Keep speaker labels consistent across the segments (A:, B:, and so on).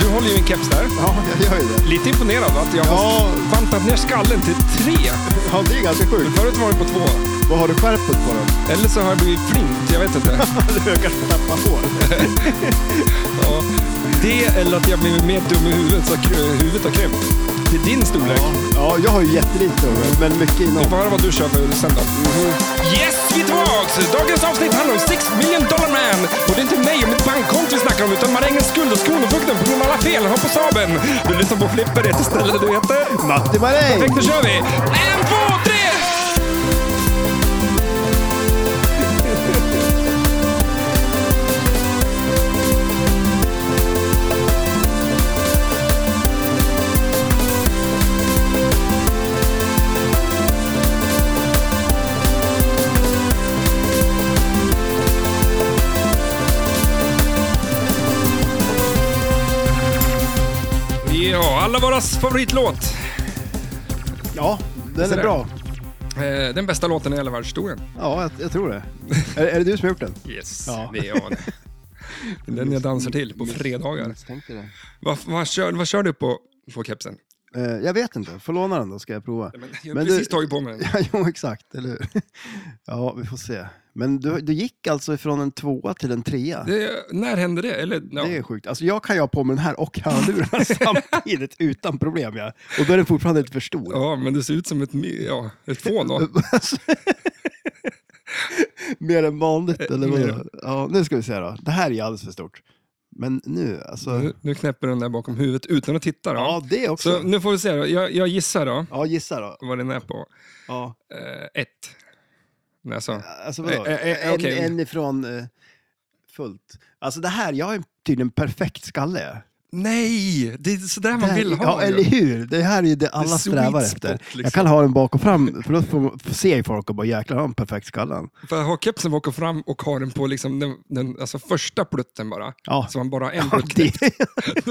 A: Du håller ju en keps där.
B: Ja, jag gör ju det.
A: Lite imponerad att jag
B: Ja.
A: har bantat ner skallen till tre.
B: Ja, det är ganska sjukt.
A: Förut var det på två.
B: Vad har du skärpet på den?
A: Eller så har jag blivit flint, jag vet inte.
B: Du ökar tappa hår.
A: Ja. Det eller att jag blivit mer dum i huvudet så att huvudet har krympt. Det är din storlek.
B: Ja, ja jag har ju jättelite hår, men mycket
A: Vi
B: inom.
A: får höra vad du kör för sen då.
B: Mm.
A: Yes, vi är tillbaks! Dagens avsnitt handlar om Six Million Dollar Man. Och det är inte mig och mitt bankkonto vi snackar om, utan marängens skuld och Kronofogden på grund av alla fel han har på Saben. Du lyssnar på Flipper, det heter stället du heter.
B: Matti Maräng!
A: Perfekt, då kör vi! En, två, tre! Ja, alla våras favoritlåt.
B: Ja, den är
A: det?
B: bra.
A: Eh, Den bästa låten i hela världshistorien.
B: Ja, jag, jag tror det. Är, är det du som har gjort den?
A: Yes,
B: Ja.
A: det är jag. Det är Den jag dansar till på fredagar.
B: Misstänkte det.
A: Vad, vad, kör, vad kör du på, på kepsen?
B: Eh, jag vet inte. Får låna den då, ska jag prova.
A: Men jag har
B: Men du-
A: precis tagit på mig den.
B: Ja, jo, exakt. Eller hur? Ja, vi får se. Men du, du gick alltså ifrån en tvåa till en trea.
A: Det, när hände det? Eller, ja.
B: Det är sjukt. Alltså jag kan ju ha på mig den här och hörlurarna samtidigt utan problem. Ja. Och då är den fortfarande lite för stor.
A: ja, men det ser ut som ett, my- ja, ett fån då.
B: Alltså, Mer än vanligt eller
A: mer.
B: vad? Ja, nu ska vi se då. Det här är ju alldeles för stort. Men nu alltså.
A: Nu, nu knäpper den där bakom huvudet utan att titta. Då.
B: Ja, det
A: Mm. Så
B: också.
A: nu får vi se. Då. Jag, jag gissar då
B: Ja, gissa då.
A: vad den är på.
B: Ja,
A: Eh, ett. Nej, alltså.
B: alltså vadå?
A: Eh, eh, eh,
B: En,
A: okej.
B: en ifrån eh, fullt. Alltså det här, jag har tydligen perfekt skalle. jag.
A: Nej, det är sådär
B: Det
A: man
B: här-
A: vill ha.
B: ja,
A: ju.
B: eller hur? Det här är ju det alla
A: sweet
B: strävar
A: spot,
B: efter.
A: liksom.
B: Jag kan ha den bak och fram, för då får- ser ju folk och bara jäklar, har en perfekt skallen.
A: För jag har kepsen bak och fram och har den på liksom den, den alltså första plutten bara.
B: Ja.
A: Så Alltså, man bara har en
B: Ja,
A: plutt.
B: det.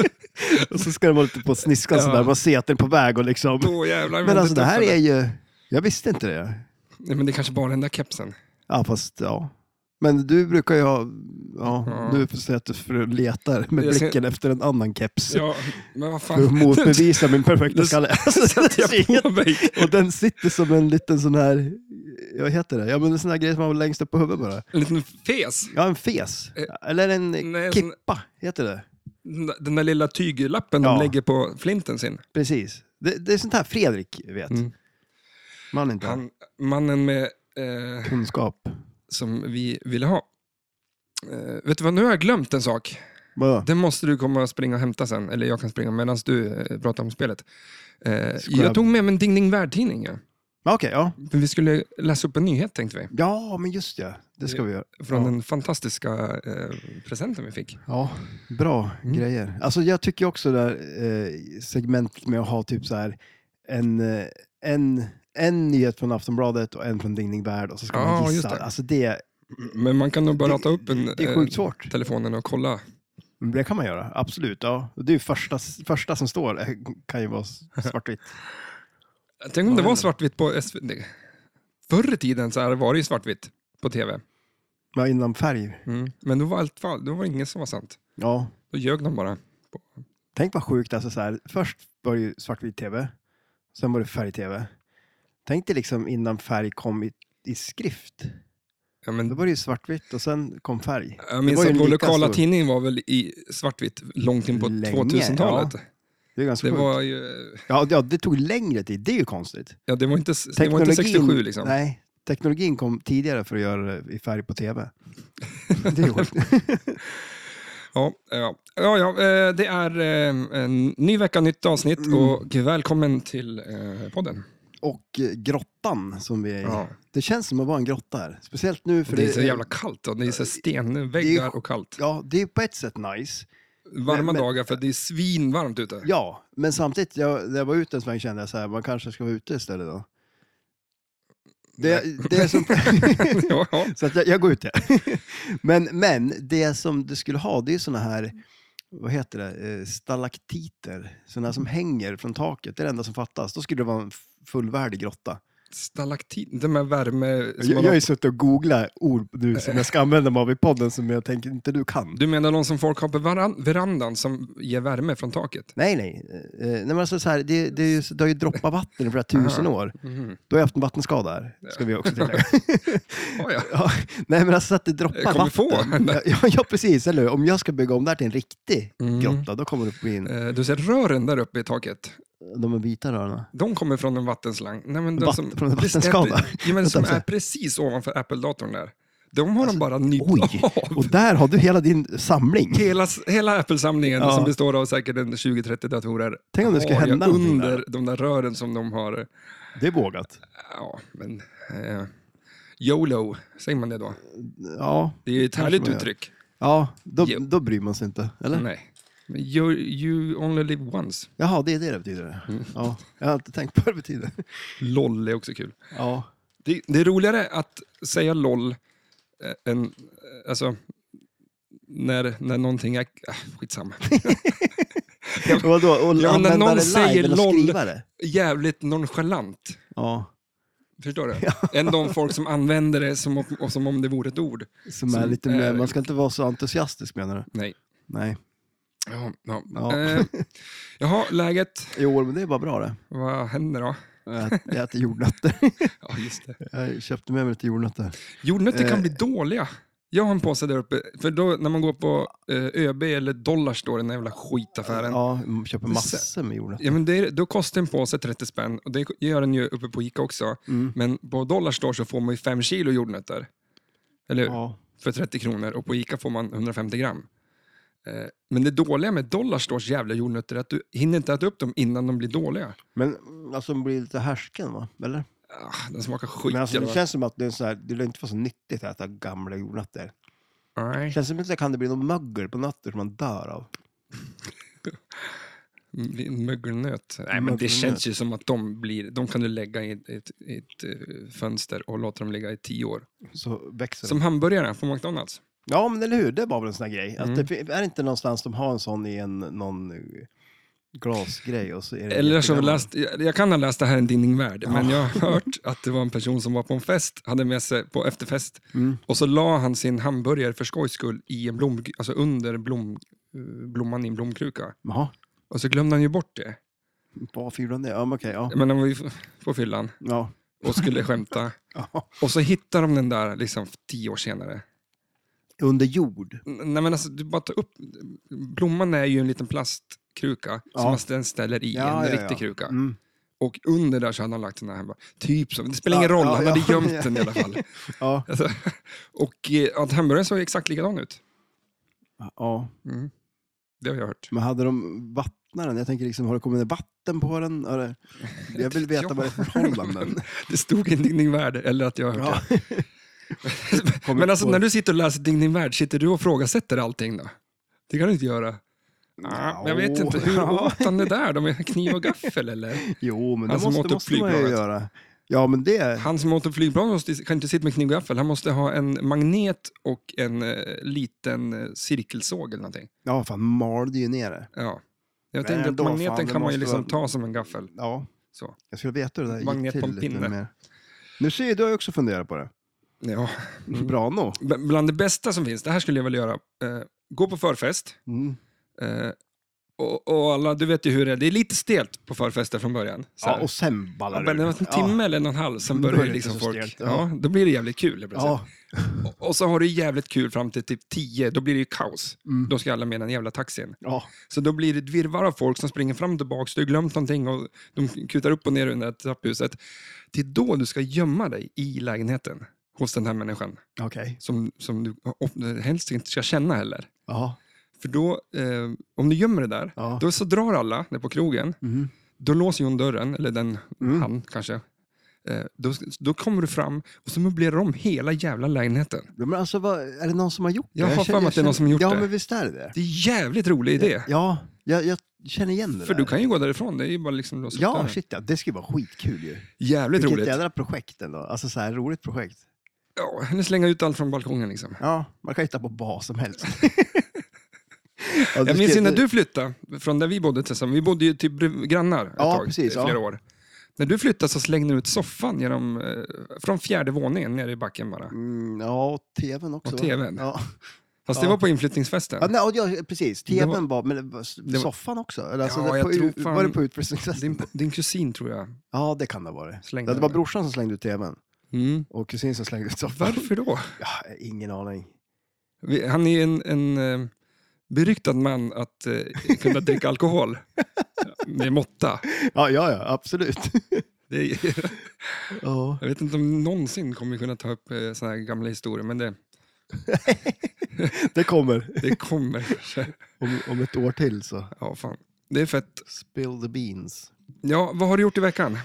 B: och så ska den vara lite på sniskan
A: Ja.
B: sådär, man ser att den är på väg och liksom.
A: Då jävlar.
B: Men alltså det här är
A: ju...
B: ju, jag visste inte det.
A: Nej, men det kanske bara är den där kepsen.
B: Ja fast ja. Men du brukar ju ha, ja,
A: Ja.
B: du får säga att du för- letar med
A: Jag ser-
B: blicken efter en annan keps.
A: Ja, men vad
B: För att
A: fan.
B: motbevisa min perfekta
A: Nu
B: skalle. Alltså, det
A: Jag
B: är inget-
A: på mig.
B: och den sitter som en liten sån här, vad heter det? Ja men en sån här grej som man har längst upp på huvudet bara.
A: En liten fes.
B: Ja en fes. Eller en
A: Eh, nej, en sån-
B: kippa, heter det.
A: Den där lilla tyglappen
B: Ja.
A: de lägger på flinten sin.
B: Precis. Det, det är sånt här Fredrik vet.
A: Mm.
B: Man inte har
A: Han, mannen med, eh,
B: kunskap.
A: som vi ville ha. Eh, vet du vad, nu har jag glömt en sak.
B: Vadå?
A: Den måste du komma och springa och hämta sen. Eller jag kan springa medan du eh, pratar om spelet. Eh,
B: Scrub.
A: jag tog med mig en Ding Ding Värld-tidning. Ja.
B: Ja, Okej, ja.
A: För Vi skulle läsa upp en nyhet tänkte vi.
B: Ja, men just det. Det ska vi göra.
A: Från
B: Ja.
A: den fantastiska eh, presenten vi fick.
B: Ja, bra
A: Mm.
B: grejer. Alltså jag tycker också det här eh, segmentet med att ha typ så här en, eh, en, en nyhet från Aftonbladet och en från Ding Ding Värld och så ska
A: Ja,
B: man
A: just
B: gissa.
A: det.
B: Alltså det,
A: Men man kan nog bara
B: Det-
A: ta upp en,
B: det är
A: eh,
B: sjukt svårt.
A: telefonen och kolla.
B: Men Det kan man göra, absolut. Ja. Och Det är ju första, första som står, eh, kan ju vara s- svartvitt.
A: Tänk om det var
B: händer?
A: svartvitt på SVT. Förr i tiden så här var det ju svartvitt på tv.
B: Ja, innan färg.
A: Mm. Men då var allt fall, då var det inget som var sant.
B: Ja.
A: Då ljög de bara.
B: Tänk vad sjukt, alltså så här, först var det ju svartvit tv, sen var det färg-tv. Tänk dig liksom innan färg kom i, i skrift.
A: Ja, men,
B: Då var det ju svartvitt och sen kom färg.
A: jag minns
B: var ju
A: att vår
B: lika
A: lokala
B: stor.
A: tidning var väl i svartvitt långt in på
B: Länge,
A: 2000-talet.
B: Det är ganska
A: Det
B: sjukt.
A: var ju,
B: Ja, ja, det tog längre tid. Det är ju konstigt.
A: ja, det var inte, det var inte 67 liksom.
B: Nej, teknologin kom tidigare för att göra det i färg på tv. Det är sjukt.
A: Ja, ja. Ja, ja, eh, det är eh, en ny vecka, nytt avsnitt
B: Mm.
A: och välkommen till eh, podden.
B: Och eh, grottan som vi är i.
A: Ja.
B: Det känns som att vara en grotta här. Speciellt nu för
A: det, är så jävla kallt och det är så
B: det
A: stenväggar
B: är-
A: och kallt.
B: Ja, det är på ett sätt nice.
A: Varma
B: men-
A: dagar för det är svinvarmt ute.
B: Ja, men samtidigt, jag, när jag var ute en sväng kände jag så här, man kanske ska vara ute istället då. Det, det är som...
A: Ja, ja.
B: Så att jag, jag går ut det. men, men det som du skulle ha, det är såna här, vad heter det, Eh, stalaktiter. Såna som hänger från taket, det är det enda som fattas. Då skulle det vara en f- fullvärdig grotta.
A: stalaktit, de här värme... som
B: Jag,
A: man
B: jag har
A: har-
B: ju suttit och googlat ord nu som jag ska använda mig av i podden som jag tänker inte du kan.
A: Du menar någon som folk har på veran- verandan som ger värme från taket?
B: Nej, nej. Eh, nej men alltså så här, det, det, är ju, det har ju droppat vatten i flera tusen år.
A: Mhm.
B: Då har jag haft en vattenskada här, ska vi också tillägga.
A: Ja, ja.
B: ja, nej, men alltså att det droppar
A: Jag kommer
B: vatten.
A: få en.
B: Ja, ja, ja, precis. Eller hur? Om jag ska bygga om det här till en riktig
A: Mm.
B: grotta, då kommer det bli en,
A: Eh, Du ser rören där uppe i taket.
B: de är vita rörarna.
A: De kommer från en vattenslang. Nej, men de
B: Vatt-
A: som,
B: från en
A: Precis,
B: vattenskada?
A: Ja, men som
B: Vänta, Alltså,
A: är precis ovanför Apple-datorn där. De har de bara
B: Oj,
A: nypt av.
B: och där har du hela din samling.
A: Hela, hela Apple-samlingen
B: Ja.
A: som består av säkert en 20-30 datorer
B: Tänk om det skulle
A: har jag
B: hända någonting
A: under
B: där.
A: de där rören som de har.
B: Det är vågat.
A: Ja, men... Eh, YOLO, säger man det då?
B: Ja,
A: Det är ju ett
B: Kanske
A: härligt
B: man gör.
A: uttryck.
B: ja då,
A: Jo.
B: då bryr man sig inte. Eller?
A: Nej. Men You, you only live once.
B: Jaha, det är det det betyder.
A: Mm.
B: Ja, jag har inte tänkt på vad det betyder.
A: LOL är också kul.
B: Ja.
A: Det, det är roligare att säga LOL eh, än... eh, Alltså, när, när någonting är... Äh, skitsamma.
B: Vadå, och
A: men när
B: använda
A: någon
B: det
A: säger
B: live eller
A: LOL.
B: skriva det?
A: Jävligt nonchalant.
B: Ja,
A: Förstår du? Än de folk som använder det som, om- som om det vore ett ord.
B: som, är
A: Som
B: lite mer,
A: är-
B: man ska inte vara så entusiastisk menar du?
A: Nej.
B: Nej.
A: Ja, ja.
B: Ja.
A: Eh, jaha, läget.
B: Jo, men det är bara bra det.
A: Vad händer då?
B: Jag, jag äter jordnötter.
A: Ja, just det.
B: Jag köpte med mig lite jordnötter.
A: Jordnötter kan
B: Eh.
A: bli dåliga. Jag har en påse där uppe, för då, när man går på eh, ÖB eller Dollar står den där jävla skitaffären. Ja.
B: Ja, jag köper massor med jordnötter.
A: men det är, då kostar en påse 30 spänn och det gör den ju uppe på Ica också.
B: Mm.
A: Men på Dollar Store så får man ju 5 kilo jordnötter. Eller hur?
B: Ja.
A: för 30 kronor och på Ica får man 150 gram. Eh, Men det dåliga med Dollarstores jävla jordnötter är att du hinner inte äta upp dem innan de blir dåliga.
B: Men alltså, man blir lite härsken va? Eller?
A: Ah, den smakar skit.
B: Men alltså, det
A: jävlar.
B: känns som att det, är så här, det lär inte vara så nyttigt att äta gamla jordnötter. Det
A: Nej.
B: känns som att det kan det bli någon mögel på nötter som man dör av.
A: Mm, Mögelnöt. Nej, men det
B: Mögelnöt.
A: känns ju som att de, blir, de kan du lägga i ett, ett, ett eh, fönster och låta dem ligga i tio år.
B: Så växer det.
A: Som hamburgaren från McDonalds.
B: Ja, men eller hur? Det var väl en sån här grej.
A: Mm.
B: Att det, är det inte någonstans de har en sån i en någon eh, glasgrej? Och så är det
A: Eller så har vi
B: jättegammal.
A: läst, jag jag kan ha läst det här i en tidningvärld,
B: Ja.
A: men jag har hört att det var en person som var på en fest, hade med sig på efterfest
B: Mm.
A: Och så la han sin hamburgare för skojs skull i en blom, alltså under blom, eh, blomman i en blomkruka.
B: Jaha,
A: Och så glömde han ju bort det.
B: varför gjorde han det? Ja, men okej. ja.
A: Men han var ju f- på fyllan
B: Ja.
A: och skulle skämta.
B: ja.
A: Och så hittar de den där liksom tio år senare.
B: Under jord.
A: N- Nej men alltså, du bara tar upp... Blomman är ju en liten plastkruka
B: Ja.
A: som man sen ställer i
B: Ja,
A: en
B: ja,
A: riktig
B: ja.
A: kruka.
B: Mm.
A: Och under där så hade han lagt den här hamburgaren. Typ som, det spelar
B: Ja,
A: ingen roll,
B: ja,
A: han hade
B: ja.
A: gömt den i alla fall.
B: Ja.
A: Alltså, och eh, att hamburgaren såg exakt likadan ut.
B: ja,
A: Mm. Det har jag hört.
B: men hade de vattnat den? Jag tänker liksom, har det kommit vatten på den? Eller? Jag vill veta
A: Ja.
B: vad det är för förhållanden.
A: Det stod i Ding Värld, eller att jag har hört
B: Ja.
A: det. Men alltså, när du sitter och läser Ding Värld, sitter du och frågasätter allting då? Det kan du inte göra. Ja, jag vet inte, hur
B: Ja.
A: åt han det där då? Med kniv och gaffel eller?
B: Jo, men
A: Han
B: det
A: som
B: måste,
A: åt upp
B: måste man ju
A: Alltså, flygplanet.
B: göra. Ja, men det...
A: Han som åt en flygplan måste, kan inte sitta med kniv och gaffel. Han måste ha en magnet och en eh, liten eh, cirkelsåg eller någonting.
B: Ja, fan, malde ju ner det.
A: Ja. Jag
B: Men
A: tänkte att
B: ändå,
A: magneten
B: fan, det
A: kan man ju
B: måste
A: liksom
B: vara-
A: ta som en gaffel.
B: Ja,
A: Så.
B: jag skulle veta hur det där
A: Magnet
B: gick
A: på
B: till
A: en
B: lite
A: pinne.
B: mer. Nu ser jag, du har ju också funderat på det.
A: Ja. Mm.
B: Bra nog.
A: B- Bland det bästa som finns, det här skulle jag vilja göra, eh, gå på förfest.
B: Mm.
A: Eh, och, och alla, du vet ju hur det är. Det är lite stelt på förfester från början. Så här.
B: Ja, och sen ballar
A: Ja, men det var en timme eller en och en halv, sen
B: Mm, Då
A: börjar
B: är
A: det
B: det
A: liksom
B: inte så
A: folk...
B: stelt,
A: ja.
B: ja.
A: då blir det jävligt kul. helt plötsligt.
B: Ja,
A: Och- Och så har du jävligt kul fram till typ 10, då blir det ju kaos.
B: Mm.
A: Då ska alla med den jävla taxin.
B: ja.
A: Så då blir det ett virrvarr av folk som springer fram och tillbaka, du har glömt någonting och de kutar upp och ner under det här trapphuset. Det är då du ska gömma dig i lägenheten hos den här människan,
B: okej.
A: som, som du of- helst inte ska känna heller.
B: Ja,
A: För då, eh, om du gömmer det där,
B: ja.
A: då så drar alla ner på krogen,
B: Mm.
A: då låser hon dörren, eller den,
B: Mm.
A: han kanske. Eh, Då, då kommer du fram och så möblerar de hela jävla lägenheten.
B: Ja, Men alltså, vad, är det någon som har gjort det?
A: Jag har för
B: känner-
A: mig att det är någon som
B: känner-
A: gjort
B: ja,
A: det.
B: Ja, men visst är det det.
A: Det är jävligt rolig idé.
B: Ja, jag, jag känner igen det
A: För
B: där.
A: du kan ju gå därifrån, det är ju bara liksom låsa upp
B: Ja,
A: dörren.
B: shit ja. Det skulle vara skitkul ju.
A: Jävligt
B: Vilket
A: roligt.
B: jädra projekt ändå. Alltså så här roligt projekt.
A: Ja, eller slänga ut allt från balkongen liksom.
B: Ja, man kan hitta på vad som helst.
A: Jag minns ju när du flyttade från där vi bodde tillsammans. Vi bodde ju typ brev- grannar ett
B: Ja,
A: tag,
B: precis,
A: eh, flera
B: ja.
A: år. När du flyttade så slängde du ut soffan genom, eh, från fjärde våningen ner i backen bara.
B: Mm, ja, och tvn också.
A: Och
B: va?
A: tvn.
B: Ja.
A: Fast det
B: Ja.
A: var på inflyttningsfesten.
B: Ja, nej, och jag- precis,
A: Det var-
B: tvn var, men det var,
A: det var-
B: soffan också? Eller, alltså,
A: Ja,
B: det,
A: jag
B: på,
A: tror
B: ut-
A: fan-
B: Var det på
A: Din,
B: utpressningsfesten?
A: din kusin tror jag
B: Ja, det kan det ha varit.
A: slängde
B: Ja, det var
A: den.
B: brorsan som slängde ut tvn
A: Mm.
B: och kusin som slängde ut soffan.
A: Varför då?
B: Ja, ingen aning.
A: Vi- Han är en, en eh, beryktad man att eh, kunna dricka alkohol med måtta.
B: Ja, ja, ja absolut.
A: Det är,
B: Ja.
A: jag vet inte om någonsin kommer vi kunna ta upp eh, såna här gamla historier, men det,
B: Det kommer
A: det kommer kanske.
B: om, om ett år till så.
A: Ja, fan. Det är fett.
B: Spill the beans.
A: Ja, vad har du gjort i veckan?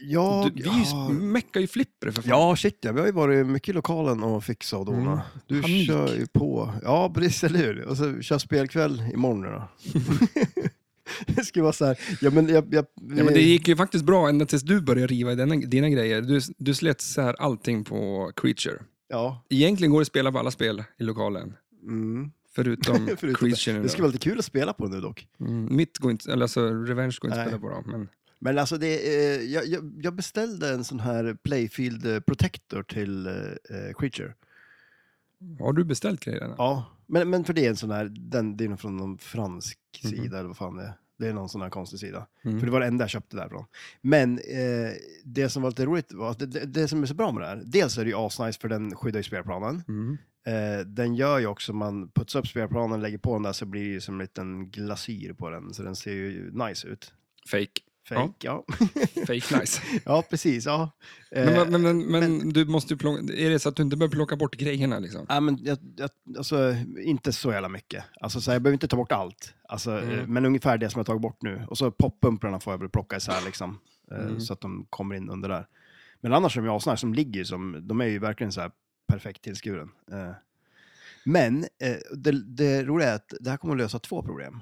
B: Ja,
A: Du, vi ja.
B: ja.
A: meckar ju flipper för fan.
B: ja, shit ja, vi har ju varit mycket i lokalen och fixat och donat.
A: Mm.
B: Du
A: Panik.
B: kör ju på. Ja, precis, eller hur? Och så kör spelkväll imorgon nu då. det skulle vara så här, ja men jag... jag
A: Ja, men det gick ju faktiskt bra ända tills du började riva i dina, dina grejer. Du, du slet så här allting på Creature.
B: Ja,
A: Egentligen går det att spela på alla spel i lokalen,
B: mm.
A: förutom,
B: Förutom det.
A: Creature. nu
B: Det
A: då.
B: skulle vara lite kul att spela på nu dock.
A: Mm, mitt går inte, eller alltså Revenge går inte
B: Nej.
A: att spela på dem. Men...
B: Men alltså, det, eh, jag, jag, jag beställde en sån här Playfield eh, Protector till eh, Creature.
A: Har du beställt grejerna?
B: Ja, men, men för det är en sån här, den, det är nog från någon fransk
A: Mhm.
B: sida eller vad fan det är. Det är någon sån här konstig sida.
A: Mm.
B: För det var det enda jag köpte därifrån. Men eh, det som var lite roligt var att det, det, det som är så bra med det här, dels är det ju asnice för den skyddar ju spelplanen.
A: Mm.
B: Eh, den gör ju också, man putsar upp spelplanen, lägger på den där så blir det ju som en liten glasyr på den. Så den ser ju nice ut.
A: Fake.
B: Fake, ja.
A: Fake nice.
B: Ja, precis, ja. Eh,
A: men, men, men, men, du måste ju plocka, är det så att du inte behöver plocka bort grejerna liksom?
B: Ja, men jag, jag, alltså, inte så jävla mycket. Alltså, så här, jag behöver inte ta bort allt, alltså,
A: Mm.
B: eh, men ungefär det som jag tagit bort nu. Och så poppumprarna får jag väl plocka isär liksom, eh,
A: Mm.
B: så att de kommer in under där. Men annars är de ju asnice, de ligger ju som, de är ju verkligen så här perfekt tillskuren. Eh, men eh, det, det roliga är att det här kommer att lösa två problem.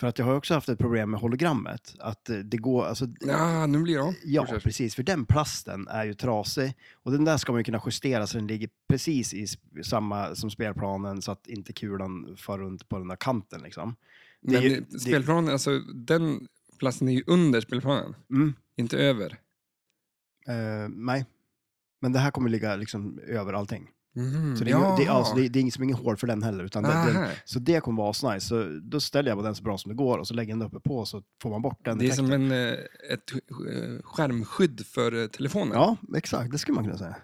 B: För att jag har också haft ett problem med hologrammet, att eh, det går, alltså,
A: Ja, nu blir jag.
B: Ja,
A: Fortsätt.
B: precis. För den plasten är ju trasig och den där ska man ju kunna justera så den ligger precis i sp- samma som spelplanen så att inte kulan far runt på den där kanten. Liksom. det
A: Men
B: är ju- det-
A: spelplanen, alltså den platsen är ju under spelplanen,
B: Mm.
A: inte över.
B: Eh, nej, men det här kommer ligga liksom över allting.
A: Mm. Ah,
B: Så det, är, det, är, alltså, det, är, det är inget som är ingen hål för den heller. Utan den, den,
A: Aha.
B: så det kommer vara asnice. Så då ställer jag på den så bra som det går och så lägger jag den uppe på så får man bort den
A: det är
B: effekten.
A: som en, eh, ett eh, skärmskydd för eh, telefonen.
B: Ja, exakt. Det skulle man kunna säga.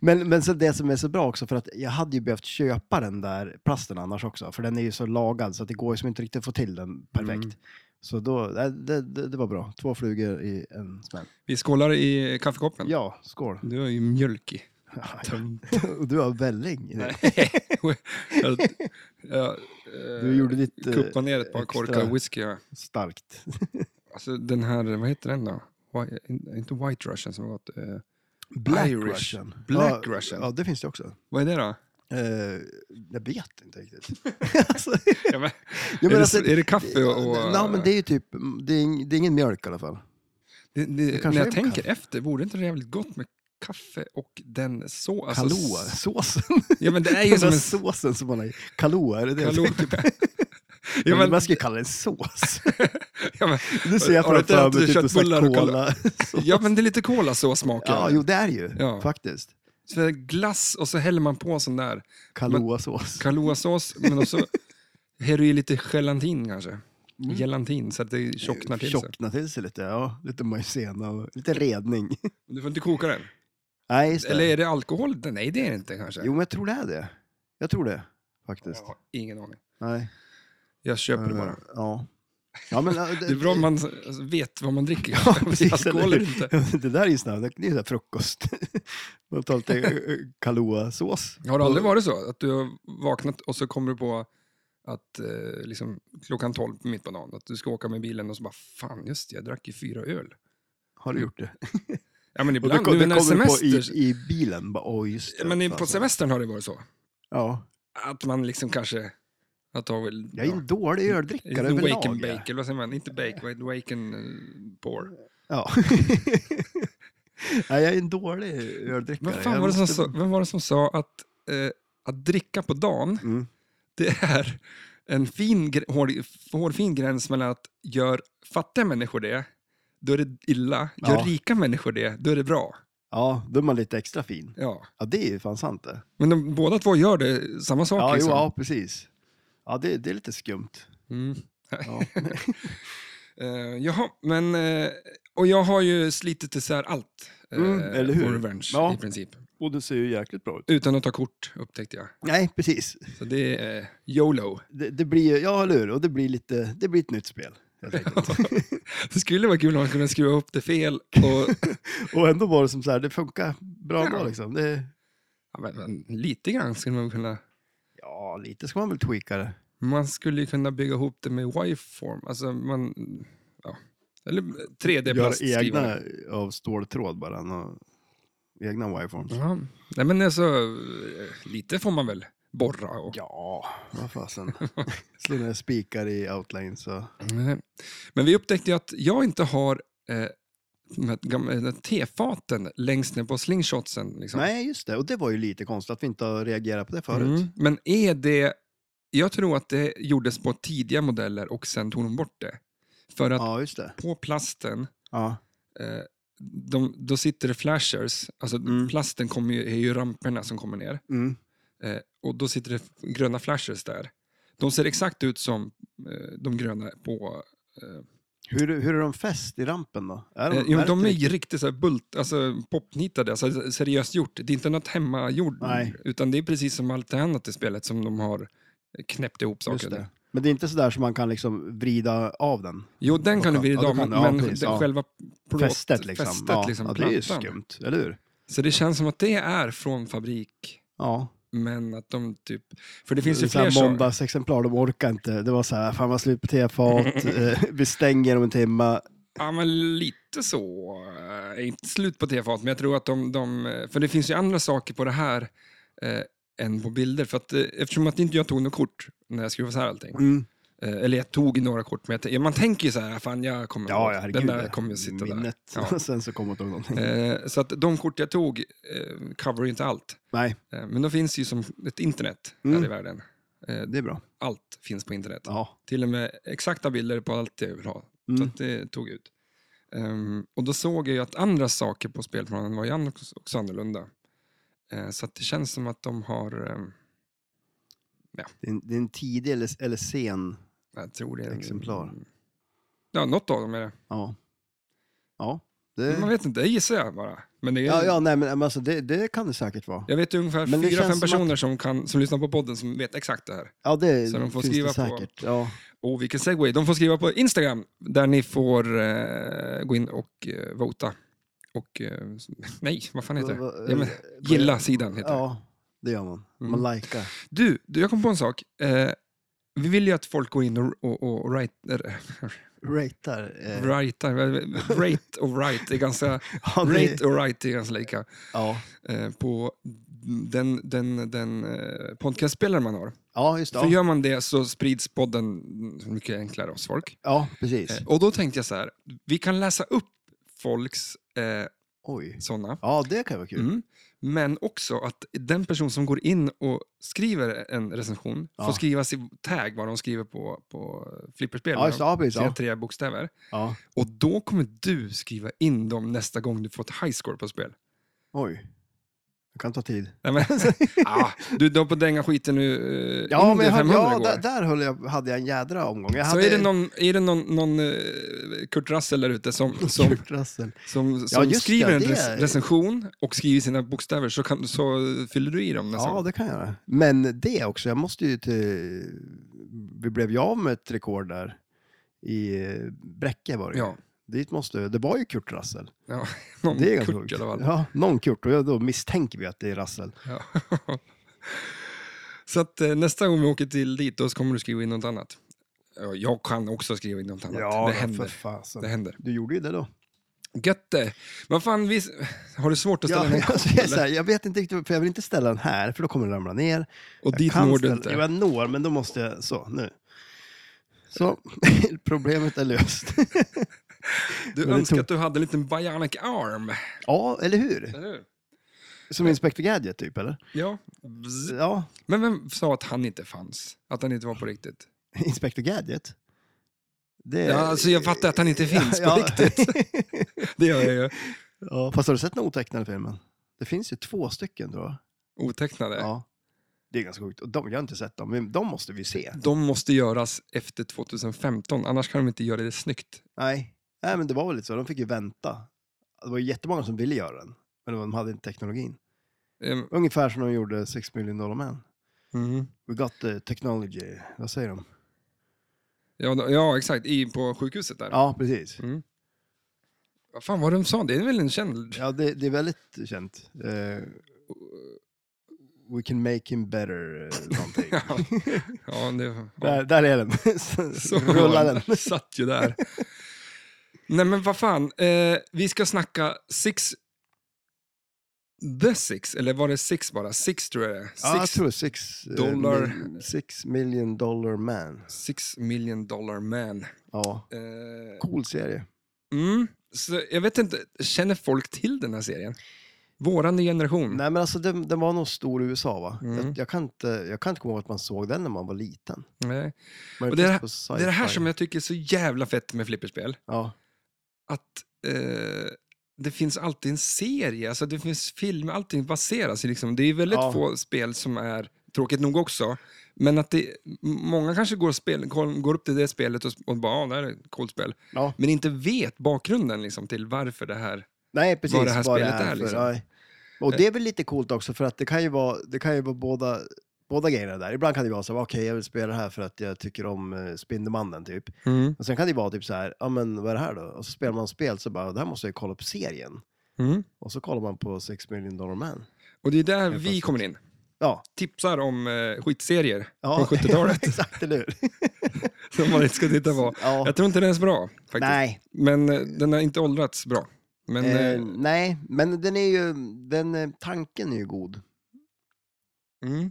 B: Men, men så det som är så bra också, för att jag hade ju behövt köpa den där plasten annars också, för den är ju så lagad så att det går ju som inte riktigt att få till den perfekt.
A: Mm.
B: Så då, nej, det, det, det var bra. Två flugor i en smäll.
A: Vi skålar i kaffekoppen.
B: Ja, skål.
A: Du har ju mjölk i. Tum.
B: Och du har välling. i det.
A: jag, jag,
B: Du gjorde ditt eh,
A: Kuppa ner ett par
B: extra-
A: korkar whisky. Ja.
B: starkt.
A: Alltså den här, vad heter den då? Whi- inte White Russian som har gått. eh, Irish. Black
B: ja,
A: Russian.
B: Ja, det finns det också.
A: Vad är det då?
B: Eh, jag vet inte riktigt. alltså, jag
A: Ja, men, är,
B: menar
A: det,
B: alltså-
A: är det kaffe och... och
B: Nej, men det är ju typ, det är, ing- det är ingen mjölk i alla fall.
A: det- det-
B: kanske
A: när
B: är
A: jag
B: kaffe.
A: tänker efter, vore inte det jävligt gott med kaffe och den så... Alltså,
B: Kalua,
A: s-
B: såsen.
A: Ja men det är ju som
B: den
A: en...
B: där såsen som man har i. Kalua, är det det jag
A: Kalua.
B: tänker på?
A: Ja, men,
B: Man ska ju kalla det en sås.
A: ja, men,
B: Nu ser jag
A: Har du inte
B: framför
A: ätit
B: mig typ en sån
A: köttbullar
B: här
A: och
B: cola.
A: ja men det är lite kolasåssmaker.
B: Ja, jo det är det ju
A: Ja.
B: faktiskt.
A: Så det är glass och så häller man på sån där
B: Kalua-sås.
A: Kaluasås, men också häller ju lite gelatin kanske.
B: Mm.
A: Gelatin, så att det tjocknar till sig.
B: Tjockna till sig lite, ja. Lite majsena och lite redning.
A: Du får inte koka den.
B: Nej, just det.
A: Eller är det alkohol? Nej, det är det inte kanske.
B: Jo, men jag tror det är det. Jag tror det,
A: jag
B: faktiskt.
A: har ingen aning.
B: Nej. eh,
A: Jag köper det bara.
B: Ja. Ja, men, ja,
A: Det är bra om man alltså, vet vad man dricker.
B: Ja,
A: Om det är
B: precis,
A: alkohol
B: eller
A: eller inte.
B: Det där är ju snabbt, det är ju så här frukost. Man tar lite eh, Kahlua-sås.
A: Har det aldrig varit så att du har vaknat och så kommer du på att eh, liksom, klockan 12 på mitt på dagen, att du ska åka med bilen och så bara fan just det, jag drack ju fyra öl.
B: Har du gjort det?
A: Ja men
B: Och det,
A: ibland,
B: kom-
A: nu
B: det
A: när
B: kommer
A: semester,
B: du på i, i bilen. Bara, Åh, just det,
A: men i-
B: fan,
A: på
B: så-
A: semestern har det varit så.
B: Ja.
A: Att man liksom kanske har tagit...
B: Jag är en dålig öldrickare
A: Liten
B: överlag.
A: wake and
B: jag.
A: bake, eller vad säger man? Inte bake, vad- wake and eh, pour.
B: Ja. Nej, jag är en dålig öldrickare.
A: Men fan
B: Jag
A: var det som
B: måste-
A: sa, vem var det som sa att, eh, att dricka på dagen,
B: Mm.
A: det är en fin, gr- hår, hårfin gräns mellan att gör fattiga människor det, då är det illa. Gör
B: Ja.
A: rika människor det, då är det bra.
B: Ja, då är man lite extra fin.
A: Ja.
B: Ja, det är ju fan sant det.
A: Men de, båda två gör det, samma sak.
B: Ja, jo,
A: liksom.
B: ja precis. Ja, det, det är lite skumt.
A: Mm.
B: Ja.
A: Eh, jaha, men... eh, och jag har ju slitit isär allt eh,
B: Mm, eller hur?
A: på Revenge
B: Ja.
A: i princip.
B: Och det ser ju jäkligt bra ut.
A: Utan att ta kort, upptäckte jag.
B: Nej, precis.
A: Så det är eh, YOLO.
B: Det, det blir ju, ja eller hur, och det blir lite, det blir ett nytt spel. helt enkelt.
A: Det skulle vara kul om man kunde skruva upp det fel. Och,
B: och ändå var det som så här, det funkar bra
A: Ja.
B: bra liksom. Det,
A: ja, men, men, lite grann skulle man kunna...
B: ja, lite ska man väl tweaka det.
A: Man skulle ju kunna bygga ihop det med waveform. Alltså man... Ja. Eller
B: Göra
A: 3D-plastskrivare.
B: egna av ståltråd bara. nå- egna wireforms.
A: Ja. Nej men alltså, eh, lite får man väl borra och...
B: Ja, vad fasen. Slå ner spikar i outline så.
A: Nej. Eh, Men vi upptäckte ju att jag inte har eh, de här gamla- de här tefaten längst ner på slingshotsen. Liksom.
B: Nej, just det. Och det var ju lite konstigt att vi inte har reagerat på det förut.
A: Mm. Men är det... Jag tror att det gjordes på tidiga modeller och sen tog de bort det. För att
B: Ja, just det.
A: på plasten,
B: Ja,
A: eh, de, då sitter det flashers. Alltså
B: Mm.
A: plasten kommer ju, är ju ramperna som kommer ner.
B: mm.
A: Eh, och då sitter det f- gröna flashers där. De ser exakt ut som eh, de gröna på... Eh,
B: hur, hur är de fäst i rampen då? Är
A: Eh, jo,
B: är
A: de
B: det
A: är
B: riktigt-
A: ju riktigt så här bult, alltså popnitade, alltså seriöst gjort. Det är inte något hemmagjord,
B: Nej.
A: utan det är precis som allt annat i spelet som de har knäppt ihop saker
B: Just
A: med.
B: det. Men det är inte sådär som man kan liksom vrida av den?
A: Jo, den kan du
B: Ja,
A: vrida
B: du
A: av,
B: kan-
A: men,
B: ja,
A: men
B: precis,
A: den
B: ja.
A: själva plåt,
B: Fästet liksom.
A: fästet,
B: ja.
A: liksom,
B: ja, det är ju
A: plattan.
B: skumt, eller hur?
A: Så det känns som att det är från fabrik,
B: Ja.
A: men att de typ... För det finns ju
B: så här
A: fler så.
B: Måndagsexemplar, de orkar inte. Det var så här, fan vad slut på tefat, eh, vi stänger om en timme.
A: Ja, men lite så. Eh, Inte slut på tefat, men jag tror att de, de... eh, För det finns ju andra saker på det här eh, än på bilder. För att, eh, eftersom att inte jag tog något kort när jag skruvade isär allting.
B: Mm.
A: Eh, Eller jag tog några kort, men jag, t- man tänker ju så här, fan jag kommer
B: Ja, ja,
A: ihåg.
B: herregud.
A: den där
B: det-
A: kommer ju sitta
B: Minnet.
A: där. Ja.
B: Sen så kommer inte ihåg någonting.
A: Eh, så att de kort jag tog eh, cover ju inte allt.
B: Nej,
A: Eh, men de finns ju som ett internet
B: Mm.
A: här i världen. Eh,
B: det är bra.
A: allt finns på internet.
B: Ja.
A: Till och med exakta bilder på allt jag vill ha. Så
B: Mm.
A: att det tog ut. Ehm, och då såg jag ju att andra saker på spelplanen var ju an- också annorlunda. Eh, så att det känns som att de har, ehm,
B: Det, är en, det är en tidig eller, eller sen.
A: jag tror det är... en-
B: Exemplar.
A: Ja, något av dem är det.
B: Ja. Ja. Det,
A: Man vet inte, det gissar jag bara. Men det är,
B: ja, ja, nej, men men alltså, det, det kan det säkert vara.
A: Jag vet ungefär
B: Men det
A: fyra,
B: känns
A: fem
B: som
A: personer som, kan, som lyssnar på podden som vet exakt det här.
B: Ja, det
A: Så de får
B: finns
A: skriva
B: det
A: på-
B: säkert. Ja.
A: Och vilken segway. De får skriva på Instagram där ni får eh, gå in och eh, vota. Och, eh, s- nej, vad fan heter
B: Va-
A: det?
B: va-
A: Ja, men,
B: eh,
A: gilla sidan heter det. Mm.
B: Ja, det gör man. Man likar.
A: Du, du, jag kom på en sak. Eh, vi vill ju att folk går in och, och, och write, äh,
B: Ratar. Eh,
A: write, rate och write är ganska,
B: ja, det-
A: rate och write är ganska lika
B: ja.
A: eh, på den, den, den eh, podcastspelare man har.
B: ja, just det.
A: För
B: Ja,
A: gör man det så sprids podden mycket enklare hos folk.
B: ja precis.
A: Eh, Och då tänkte jag så här, vi kan läsa upp folks eh,
B: Oj.
A: sådana.
B: Ja, det kan vara kul.
A: Mm. Men också att den person som går in och skriver en recension
B: Ja.
A: får skriva sin tag vad de skriver på, på flipperspel.
B: Ja, just det. Ja, precis.
A: Sina
B: Ja.
A: tre bokstäver.
B: Ja.
A: Och då kommer du skriva in dem nästa gång du får ett high score på spel.
B: Oj. Det kan ta tid.
A: Nej, men, ah, du, du har på dänga skiten nu eh,
B: Ja,
A: in
B: men
A: det
B: jag hade,
A: 500
B: ja,
A: igår.
B: där, där höll jag, hade jag en jädra omgång. Jag
A: Så
B: hade
A: är det någon, är det någon, någon eh, Kurt Russell där ute som, som,
B: Kurt Russell.
A: som,
B: Ja,
A: som
B: just det,
A: skriver en
B: det
A: rec-
B: är-
A: recension och skriver sina bokstäver så, kan, så fyller du i dem nästa
B: Ja,
A: gång.
B: det kan jag göra. Men det också, jag måste ju till... Vi blev ju av med ett rekord där i eh, Bräcke var det ju.
A: Ja,
B: Dit måste, det var ju Kurt Russell.
A: ja, någon
B: Det är ganska
A: Kurt i alla
B: sjukt.
A: fall.
B: Ja, någon Kurt och jag- då misstänker vi att det är Russell.
A: Ja. så att eh, nästa gång vi åker till dit då så kommer du skriva in något annat. Ja, Jag kan också skriva in något annat. det
B: för
A: händer.
B: fasen.
A: Det händer.
B: Du gjorde ju det då.
A: Gött det. Vad fan, vi... har du svårt att ställa
B: Ja,
A: någon
B: alltså,
A: kort?
B: jag, är så
A: eller?
B: här, jag vet inte riktigt, för jag vill inte ställa den här, för då kommer den ramla ner.
A: Och
B: Jag
A: dit
B: kan
A: når du
B: ställa-
A: inte.
B: Jo, jag når, men då måste jag... Så, nu. Så, problemet är löst.
A: Du
B: det
A: önskar
B: tog-
A: att du hade en liten bionic arm.
B: ja, eller hur?
A: Eller hur?
B: Som Inspector Gadget, typ, eller?
A: Ja.
B: Ja,
A: Men vem sa att han inte fanns? Att han inte var på riktigt?
B: Inspector Gadget. Det,
A: Ja, alltså jag fattar att han inte finns på
B: Ja.
A: riktigt. Det gör jag ju.
B: ja, fast har du sett den otecknade filmen? Det finns ju två stycken tror
A: Äh.
B: jag.
A: Otecknade.
B: Ja. Det är ganska sjukt. Och de, jag har inte sett dem, men de måste vi se.
A: De måste göras efter 2015, annars kan de inte göra det snyggt.
B: Nej. Nej, men det var väl lite så. De fick ju vänta. Det var ju jättemånga som ville göra den, men de hade inte teknologin.
A: Ehm,
B: Ungefär som de gjorde Six Million Dollar Man.
A: mhm.
B: We got the technology. Vad säger de?
A: Ja, då- ja, exakt. I, på sjukhuset där.
B: Ja, precis.
A: Vad fan var det de sa? Det är väl en känd...
B: Ja, det, det är väldigt känt. Eh, we can make him better, eh, någonting.
A: Ja. Ja, det, ja.
B: Där, där är den.
A: Så
B: Rulla den.
A: satt ju där. Nej men vad fan, eh, vi ska snacka Six... The Six, eller var det Six bara? Six tror jag det är. Six,
B: Ja, jag tror six, eh,
A: dollar-
B: mil- six million dollar man.
A: six million dollar man.
B: Ja,
A: Eh,
B: cool serie.
A: mm, så jag vet inte, känner folk till den här serien? Våran generation?
B: Nej, men alltså den, den var nog stor i USA, va?
A: Mm.
B: Jag, jag, kan inte, jag kan inte komma ihåg att man såg den när man var liten.
A: Nej.
B: Men
A: Och det är
B: finns på
A: Det är det här
B: sci-fi.
A: som jag tycker är så jävla fett med flipperspel.
B: Ja,
A: att eh, det finns alltid en serie, alltså det finns film, allting baseras i liksom, det är väldigt
B: Ja.
A: få spel som är, tråkigt nog också, men att det, m- många kanske går, och spel, går går upp till det spelet och, s- och bara, ja, det här är ett coolt spel,
B: ja.
A: men inte vet bakgrunden liksom, till varför det här,
B: Nej, precis.
A: det här spelet är,
B: för-
A: liksom. Eh.
B: ja. Och det är väl lite coolt också, för att det kan ju vara, det kan ju vara båda, båda grejerna där. Ibland kan det vara så här, okej, jag vill spela det här för att jag tycker om eh, Spindelmannen, typ. Och sen kan det ju vara typ så här, ja men vad är det här då? Och så spelar man spel så bara, det här måste jag ju kolla på serien.
A: Mm.
B: Och så kollar man på Six Million Dollar Man.
A: och det är där
B: Helt
A: vi
B: plötsligt.
A: kommer in,
B: Ja.
A: tipsar om eh, skitserier
B: ja.
A: från 70-talet
B: Exakt, eller hur?
A: som man inte ska titta på.
B: Ja.
A: Jag tror inte den är så bra, faktiskt.
B: Nej,
A: men eh, den har inte åldrats bra. Men,
B: eh,
A: eh,
B: nej, men den är ju, den, eh, tanken är ju god.
A: Mm.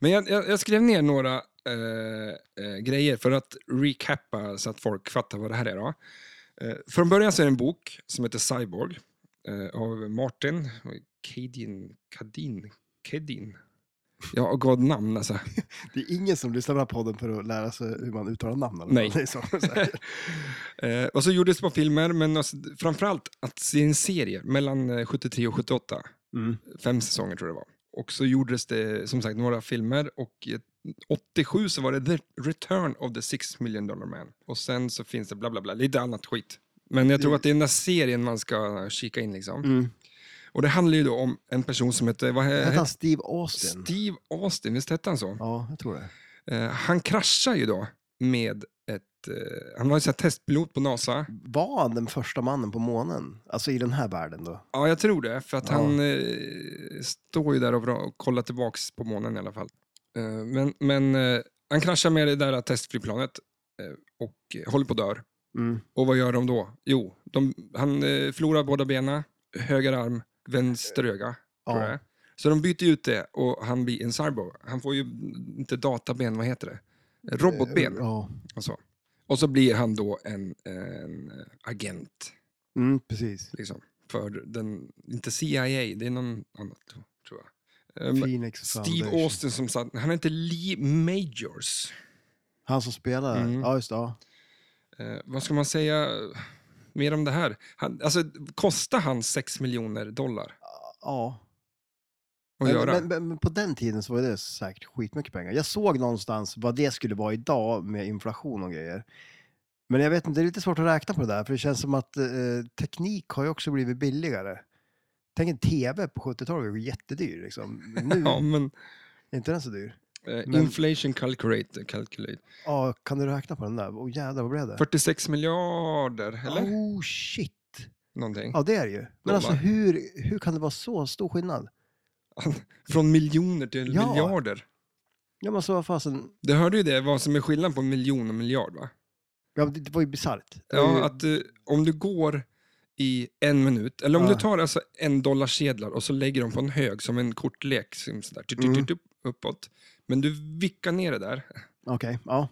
A: Men jag, jag, jag skrev ner några eh, eh, grejer för att recappa så att folk fattar vad det här är. Då. Eh, från början så är det en bok som heter Cyborg eh, av Martin Kadin. Kadin. Kadin. Ja, och god namn alltså.
B: Det är ingen som lyssnar på den här podden för att lära sig hur man uttalar namn. eller?
A: Nej.
B: Det är så, så här.
A: eh, och så gjordes det på filmer, men alltså, framförallt att se en serie mellan eh, 73 och 78.
B: Mm.
A: Fem säsonger tror jag det var. Och så gjordes det som sagt några filmer och eh, 87 så var det The Return of the Six Million Dollar Man. Och sen så finns det bla bla bla, lite annat skit. Men jag tror att det är den där serien man ska kika in liksom.
B: Mm.
A: Och det handlar ju då om en person som heter, vad he-
B: Hette han
A: he-
B: Eh, Steve Austin?
A: Steve Austin, visst hette han så?
B: Ja, jag tror det.
A: Eh, han kraschar ju då med ett, eh, han var ju så här testpilot på NASA.
B: Var han den första mannen på månen? Alltså i den här världen då?
A: Ja, jag tror det. För att
B: Ja.
A: han eh, står ju där och, vra- och kollar tillbaks på månen i alla fall. Eh, men men eh, han kraschar med det där testflygplanet eh, och eh, håller på att dör.
B: Mm.
A: Och vad gör de då? Jo, de, han eh, förlorar båda benen, höger arm, vänster öga. Tror jag.
B: Eh, Ja.
A: det är. Så de byter ut det och han blir en cyborg. Han får ju inte databen, vad heter det?
B: Eh,
A: Robotben
B: Ja,
A: och så. Och så blir han då en, en eh, agent
B: mm, precis.
A: liksom. För den, inte CIA, det är någon annat tror jag. Ehm,
B: Phoenix
A: Steve
B: Foundation.
A: Austin som satt, han heter Lee Majors.
B: Han som spelar,
A: Mm.
B: ja just det. Ja.
A: Eh, vad ska man säga mer om det här? Han, alltså, kostar han 6 miljoner dollar
B: ja.
A: att
B: Men,
A: göra?
B: men, men, men på den tiden så var det säkert skitmycket pengar. Jag såg någonstans vad det skulle vara idag med inflation och grejer. Men jag vet inte, det är lite svårt att räkna på det där, för det känns som att eh, teknik har ju också blivit billigare. Tänk en TV på 70-talet, var jättedyr liksom. Nu
A: ja, men,
B: är inte den så dyr.
A: eh,
B: men-
A: Inflation calculator, calculate.
B: Ja, kan du räkna på den där? Åh jävlar, vad blev det?
A: 46 miljarder, eller?
B: Oh shit!
A: Någonting.
B: Ja, det är det ju. Men
A: Dollar.
B: alltså hur, hur kan det vara så stor skillnad?
A: Från miljoner till
B: Ja.
A: miljarder.
B: Ja, men så vad fasen,
A: Du hörde ju det, vad som är skillnaden på miljon och miljard, va?
B: ja, det, det var ju bisarrt. Det var
A: Ja,
B: ju-
A: att eh, om du går i en minut, eller om
B: Ja.
A: du tar alltså en dollar sedlar och så lägger dem på en hög som en typ, kortlek, som sådär, tut, tut,
B: Mm.
A: tut, upp- uppåt. Men du vickar ner det där,
B: Okej, ja.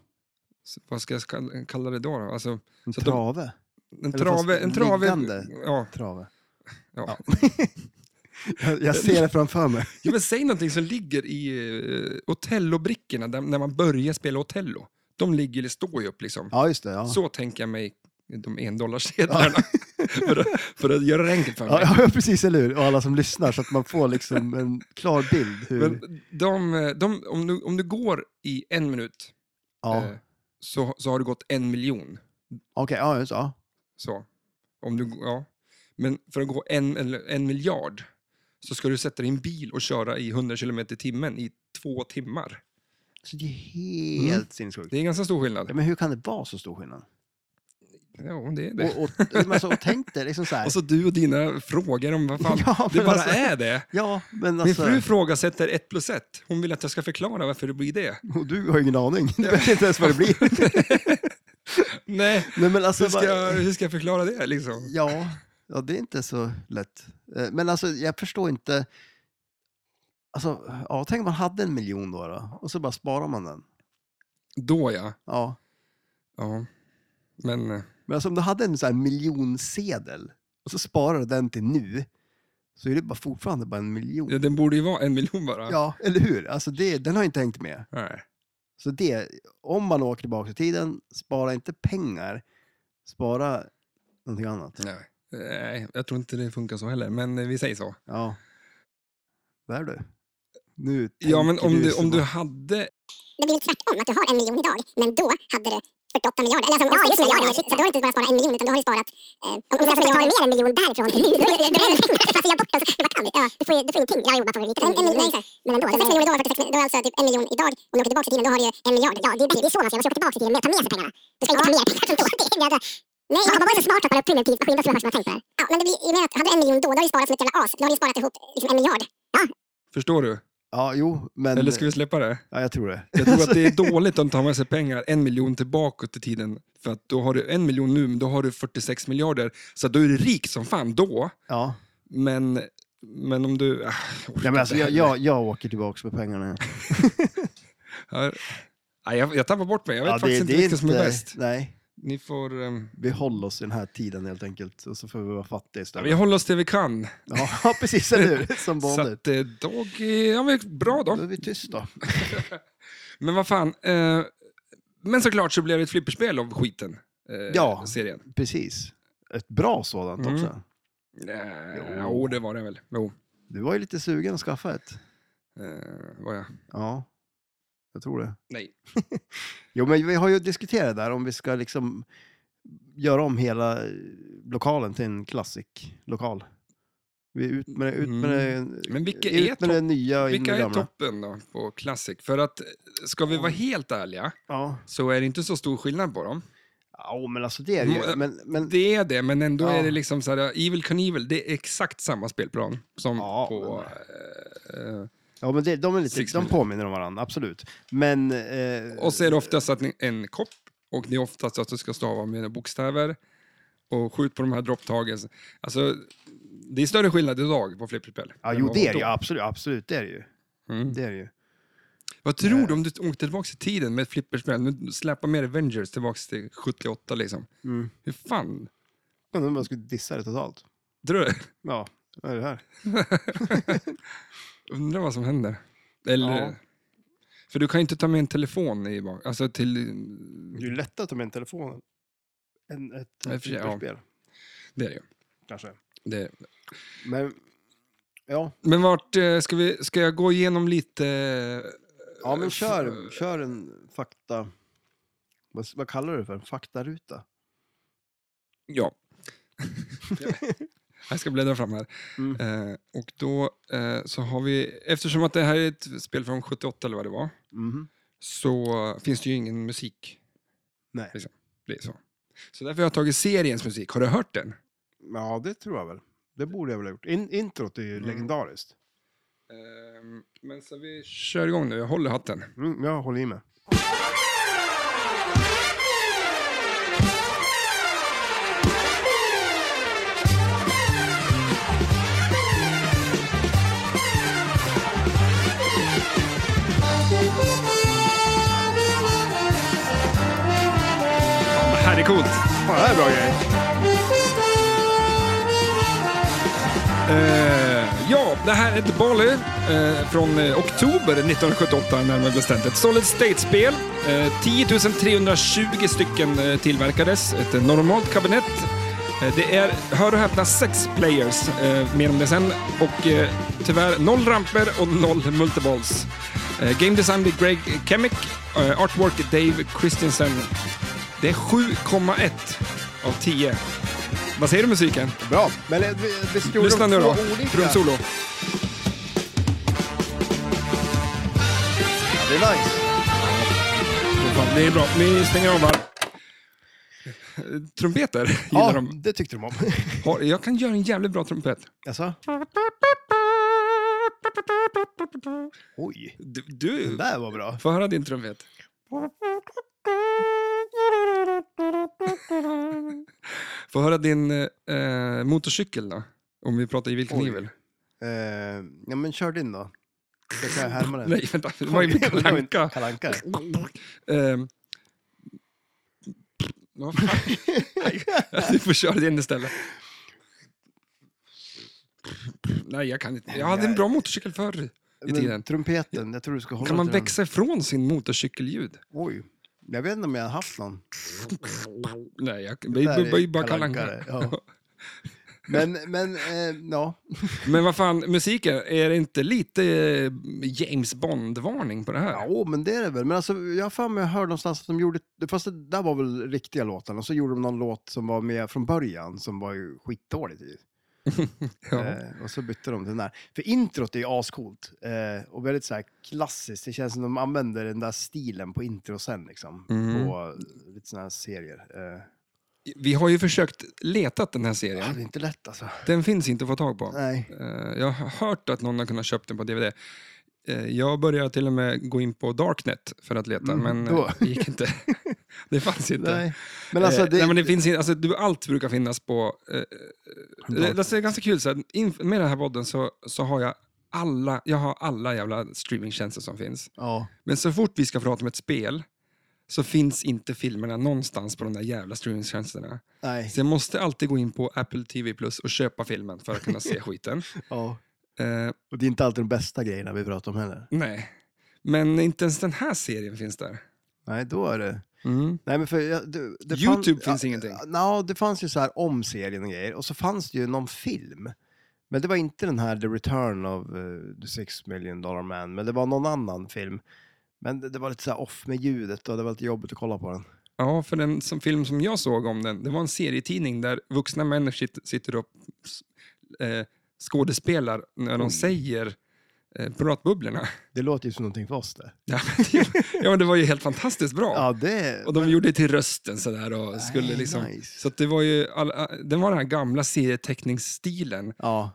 A: Så vad ska jag ska- kalla det då? då? Alltså,
B: En
A: Så att de-
B: trave.
A: en
B: Eller
A: trave...
B: fast
A: En trave
B: liggande.
A: ja,
B: Trave.
A: ja.
B: Jag, jag ser det framför mig.
A: eh, ja, men säg någonting som ligger i uh, Otello-brickorna där, när man börjar spela Otello. de ligger eller står ju upp liksom.
B: Ja, just det. Ja.
A: Så tänker jag mig de endollarsedlarna. för, att, för att göra det enkelt för mig.
B: Ja, ja, precis, eller hur? Och alla som lyssnar, så att man får liksom en klar bild. Hur...
A: Men de, de, om, du, om du går i en minut
B: ja.
A: eh, så, så har du gått en miljon.
B: Okej, ja, just, ja.
A: Så. Om du, ja. Men för att gå en, eller en miljard så ska du sätta din bil och köra i 100 km i timmen i två timmar.
B: Så det är
A: Mm.
B: helt sinnessjukt.
A: Det är ganska stor
B: Ja,
A: skillnad.
B: men hur kan det vara så stor skillnad?
A: Ja, det är det.
B: Och, och, men alltså, och tänk dig liksom så här.
A: Och så du och dina frågor om vad fan,
B: Ja,
A: det
B: men
A: bara
B: alltså-
A: är det.
B: Ja, men
A: Min
B: alltså...
A: fru frågasätter ett plus ett. Hon vill att jag ska förklara varför det blir det.
B: Och du har ju ingen aning. Du vet inte ens vad det blir.
A: Nej,
B: Nej, men alltså,
A: hur ska,
B: bara-
A: jag, hur ska jag förklara det liksom?
B: Ja, ja, det är inte så lätt. Eh, Men alltså, jag förstår inte. Alltså, ja, tänk om man hade en miljon då, då och så bara sparar man den.
A: Då ja.
B: Ja.
A: ja. Men eh,
B: Men alltså, om du hade en sån här miljonsedel och så sparar du den till nu, så är det bara fortfarande bara en miljon.
A: ja, den borde ju vara en miljon bara.
B: Ja, eller hur? Alltså, det, den har inte hängt med.
A: Nej.
B: Så det, om man åker tillbaka i tiden, spara inte pengar, spara någonting annat.
A: Nej. Nej, jag tror inte det funkar så heller, men eh, vi säger så.
B: Ja. Där du. Nu
A: Ja, men
B: tänker
A: om du,
B: så
A: om du
B: bara-
A: hade...
C: det blir tvärtom. Att du har en miljon idag, men då hade du 48 miljarder. Eller alltså, ja, 86 miljarder. Shit, så då har du inte bara sparat en miljon, utan du har ju sparat... Eh, om du alltså, tar mer än en miljon därifrån, då är det- då är det en miljon. Fast jag bort dem så vad fan. Ja, du får ju du får ingenting. Jag har ju bara tagit lite. En, en miljon, nej, men ändå. 46 miljoner idag, 46 miljoner. Då är alltså typ en miljon idag. Om du åker tillbaka i tiden, då har du ju en miljard. Ja, det är, det är så man ska göra. Man ska åka tillbaka i tiden med ta med sig pengarna. Du ska inte ta mer pengar från då. Det är en jävla... Nej, man var så smart att man är primitiv maskin. Då skulle man ha tänkt på det här. Ja, men det blir, jag menar, hade du en miljon då, då har du sparat som ett jävla as. Då har du sparat ihop liksom en miljard.
A: Förstår du?
B: Ja, jo, men... eh,
A: Eller ska vi släppa det?
B: Ja, jag tror det.
A: Jag tror att det är dåligt om du tar med sig pengar en miljon tillbaka till tiden. För att då har du en miljon nu, men då har du 46 miljarder. Så att då är du rik som fan då.
B: Ja.
A: Men, men om du... ah, jag orkar
B: Ja, men alltså,
A: inte
B: jag,
A: heller.
B: jag, jag åker tillbaka med pengarna.
A: Ja, nej, jag, jag tappar bort mig. Jag vet
B: ja,
A: faktiskt inte vilka som är bäst.
B: Nej,
A: Ni får... ehm,
B: vi håller oss i den här tiden helt enkelt. Och så får vi vara fattiga
A: ja,
B: istället.
A: vi håller oss till vi kan.
B: Ja, ja, precis, eller hur? Som
A: Så
B: vanligt.
A: att, eh, dag, eh, ja, men bra
B: Då
A: då.
B: är vi tysta.
A: Men vad fan. Eh, men såklart så blev det ett flipperspel av skiten. Eh,
B: Ja.
A: Serien.
B: Precis. Ett bra sådant
A: Mm.
B: också.
A: Eh,
B: Jo.
A: jo, det var det väl. Jo,
B: Du var ju lite sugen att skaffa ett.
A: eh, var jag.
B: Ja, jag tror det.
A: Nej.
B: Jo, men vi har ju diskuterat där om vi ska liksom göra om hela eh, lokalen till en klassiklokal. Vi ut med det, ut med det,
A: Mm. Men vilka
B: ut
A: är
B: med det nya och in
A: Vilka
B: med det
A: är
B: gamla.
A: toppen då på Classic? För att, eh, ska vi vara helt ärliga,
B: Ja.
A: så är det inte så stor skillnad på dem.
B: ja, men alltså det är det ju. Men, men,
A: Det är det, men ändå
B: Ja.
A: är det liksom så här, Evil Knievel, det är exakt samma spelplan som
B: Ja,
A: på... eh, eh,
B: ja, men det, de, är lite,
A: Six
B: de
A: Minutes.
B: påminner om varandra, absolut. Men... Eh,
A: och så är det oftast att ni, en kopp, och det är oftast att du ska stava med bokstäver och skjut på de här dropptagen. Alltså, det är större skillnad idag på flipperspel.
B: ja,
A: än
B: jo,
A: vad
B: det är
A: då.
B: det ju. Absolut, absolut, det är det ju.
A: Mm.
B: Det är det ju.
A: Vad
B: Eh.
A: tror du om du åkte tillbaka i tiden med ett flipperspel? Nu släpar med Avengers tillbaka till 78 liksom.
B: Mm.
A: Hur fan?
B: Undrar om man skulle dissa det totalt.
A: Tror du?
B: Ja, vad är det här?
A: Undrar vad som händer. Eller...
B: Ja.
A: För du kan ju inte ta med en telefon i bak. Alltså till...
B: Det är ju lättare att ta med en telefon än ett
A: Mm. Ja, i och för sig, ja.
B: flipperspel,
A: Det är det ju.
B: kanske.
A: Det är...
B: Men, ja,
A: Men vart eh, ska vi... Ska jag gå igenom lite... eh,
B: ja men
A: f-
B: kör, kör en fakta... Vad, vad kallar du det för? En faktaruta?
A: Ja. jag ska bläddra fram här.
B: Mm.
A: Eh, och då eh, så har vi... Eftersom att det här är ett spel från 78 eller vad det var.
B: Mhm.
A: så finns det ju ingen musik.
B: Nej.
A: Liksom. Det är så. Så därför har jag tagit seriens musik. Har du hört den?
B: Ja, det tror jag väl. Det borde jag väl ha gjort. In, introt är ju
A: Mm.
B: legendariskt.
A: Ehm, men så vi kör igång nu. Jag håller hatten.
B: Mm, jag håller i mig.
A: Det här är coolt!
B: Fan, det här är bra grej.
A: Eh, ja, det här är The Bali eh, från eh, oktober 1978, närmare bestämt. Ett Solid State-spel. Eh, 10 320 stycken eh, tillverkades. Ett eh, normalt kabinett. Eh, det är, hör och häpna, sex players. Eh, mer om det sen. Och eh, tyvärr noll ramper och noll multiballs. Eh, game design vid Greg Kemick. Eh, artwork Dave Christensen. Det är 7,1 av 10. Vad säger du om musiken?
B: Bra. Men eh, vi, vi
A: Lyssna nu då. Trumsolo.
B: Det är nice.
A: Det är bra. Ni stänger av va? Trumpeter gillar
B: Ja,
A: de.
B: det tyckte de om.
A: Har- Jag kan göra en jävligt bra trumpet.
B: Jaså? Oj,
A: Du, du
B: det där var bra.
A: får höra din trumpet. Får höra din eh, motorcykel då. Om vi pratar Evil Knievel.
B: Eh, ja, men kör din då. Så kan jag härma den.
A: Nej, vänta. Det var ju Kalle Anka.
B: Kalle Anka.
A: Ehm. Ja, fan. Nej, Du får köra den istället. Nej, jag kan inte. Jag hade en bra motorcykel förr i tiden.
B: Men trumpeten, jag tror du ska hålla
A: Kan man
B: till den.
A: växa ifrån sin motorcykelljud?
B: Oj. Jag vet inte om jag har haft någon.
A: Nej, jag, det
B: där
A: är ju
B: är
A: bara
B: Kalle
A: Kalle
B: Anka
A: Anka.
B: det, Men, men eh, ja.
A: Men vad fan, musiken, är det inte lite eh, James Bond-varning på det här?
B: Jo, men det är det väl. Men alltså, jag har för mig jag hörde någonstans att de gjorde, fast det där var väl riktiga låtar, och så gjorde de någon låt som var med från början som var ju skitdålig typ.
A: Ja.
B: Eh, och så bytte de till den där. För introt är ju ascoolt eh, och väldigt så här klassiskt. Det känns som de använder den där stilen på intro sen liksom.
A: Mm.
B: På lite sådana här serier. Eh,
A: Vi har ju försökt leta den här serien.
B: ja, det är inte lätt alltså.
A: Den finns inte att få tag på.
B: Nej.
A: Eh, Jag har hört att någon har kunnat köpa den på DVD. Eh, Jag började till och med gå in på Darknet för att leta,
B: Mm,
A: men
B: då.
A: eh, det gick inte. Det fanns inte.
B: Nej. Men alltså,
A: Eh,
B: det,
A: Nej, men det finns in, alltså, du, allt brukar finnas på... Eh, eh, det, alltså, det är ganska kul, så här, inf- med den här podden så, så har jag alla, jag har alla jävla streamingtjänster som finns.
B: ja.
A: Men så fort vi ska prata om ett spel så finns inte filmerna någonstans på de där jävla streamingtjänsterna.
B: Nej.
A: Så jag måste alltid gå in på Apple TV Plus och köpa filmen för att kunna se skiten.
B: Ja.
A: Eh,
B: Och det är inte alltid de bästa grejerna vi pratar om heller.
A: Nej, men inte ens den här serien finns där.
B: Nej, då är det... Nej, men för, jag- det, det
A: YouTube finns ingenting.
B: Nå, det fanns ju så här om serien och grejer. Och så fanns det ju någon film. Men det var inte den här The Return of eh, the Six Million Dollar Man. Men det var någon annan film. Men det, det var lite så här off med ljudet och det var lite jobbigt att kolla på den.
A: Ja, för den som, film som jag såg om den, det var en serietidning där vuxna människor sit- sitter och s- eh, skådespelar när de säger eh, Piratbubblorna.
B: Det låter ju som någonting för oss det.
A: Ja, ja, men det var ju helt fantastiskt bra.
B: Ja, det...
A: Och de gjorde det till rösten sådär och skulle
B: Nej,
A: liksom...
B: nice.
A: Så att det var ju alla, den var den här gamla serieteckningsstilen
B: Ja,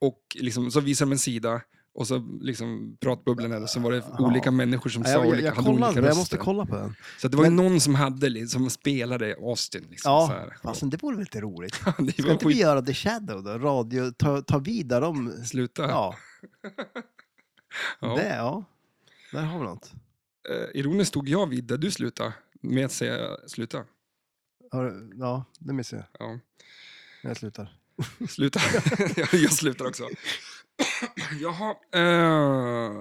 A: och liksom, så visade de en sida och så liksom pratbubblorna och så var det
B: Ja.
A: olika människor som
B: Ja,
A: sa
B: jag, jag,
A: olika,
B: jag
A: hade olika
B: kollade, men
A: röster.
B: jag måste kolla på den.
A: Så det var ju någon som hade li- som spelade Austin. Liksom, så
B: Ja,
A: här.
B: fasen det vore väl lite roligt.
A: det
B: Ska
A: var
B: inte vi
A: skit...
B: göra The Shadow då? Radio, ta, ta vid där de...
A: Sluta.
B: Ja,
A: Ja.
B: det ja. Där har vi något.
A: Eh, ironiskt tog jag vid där du slutade med att säga sluta.
B: Har du- Ja, det missar jag.
A: Ja.
B: Jag slutar.
A: Sluta. jag slutar också. Jaha. eh,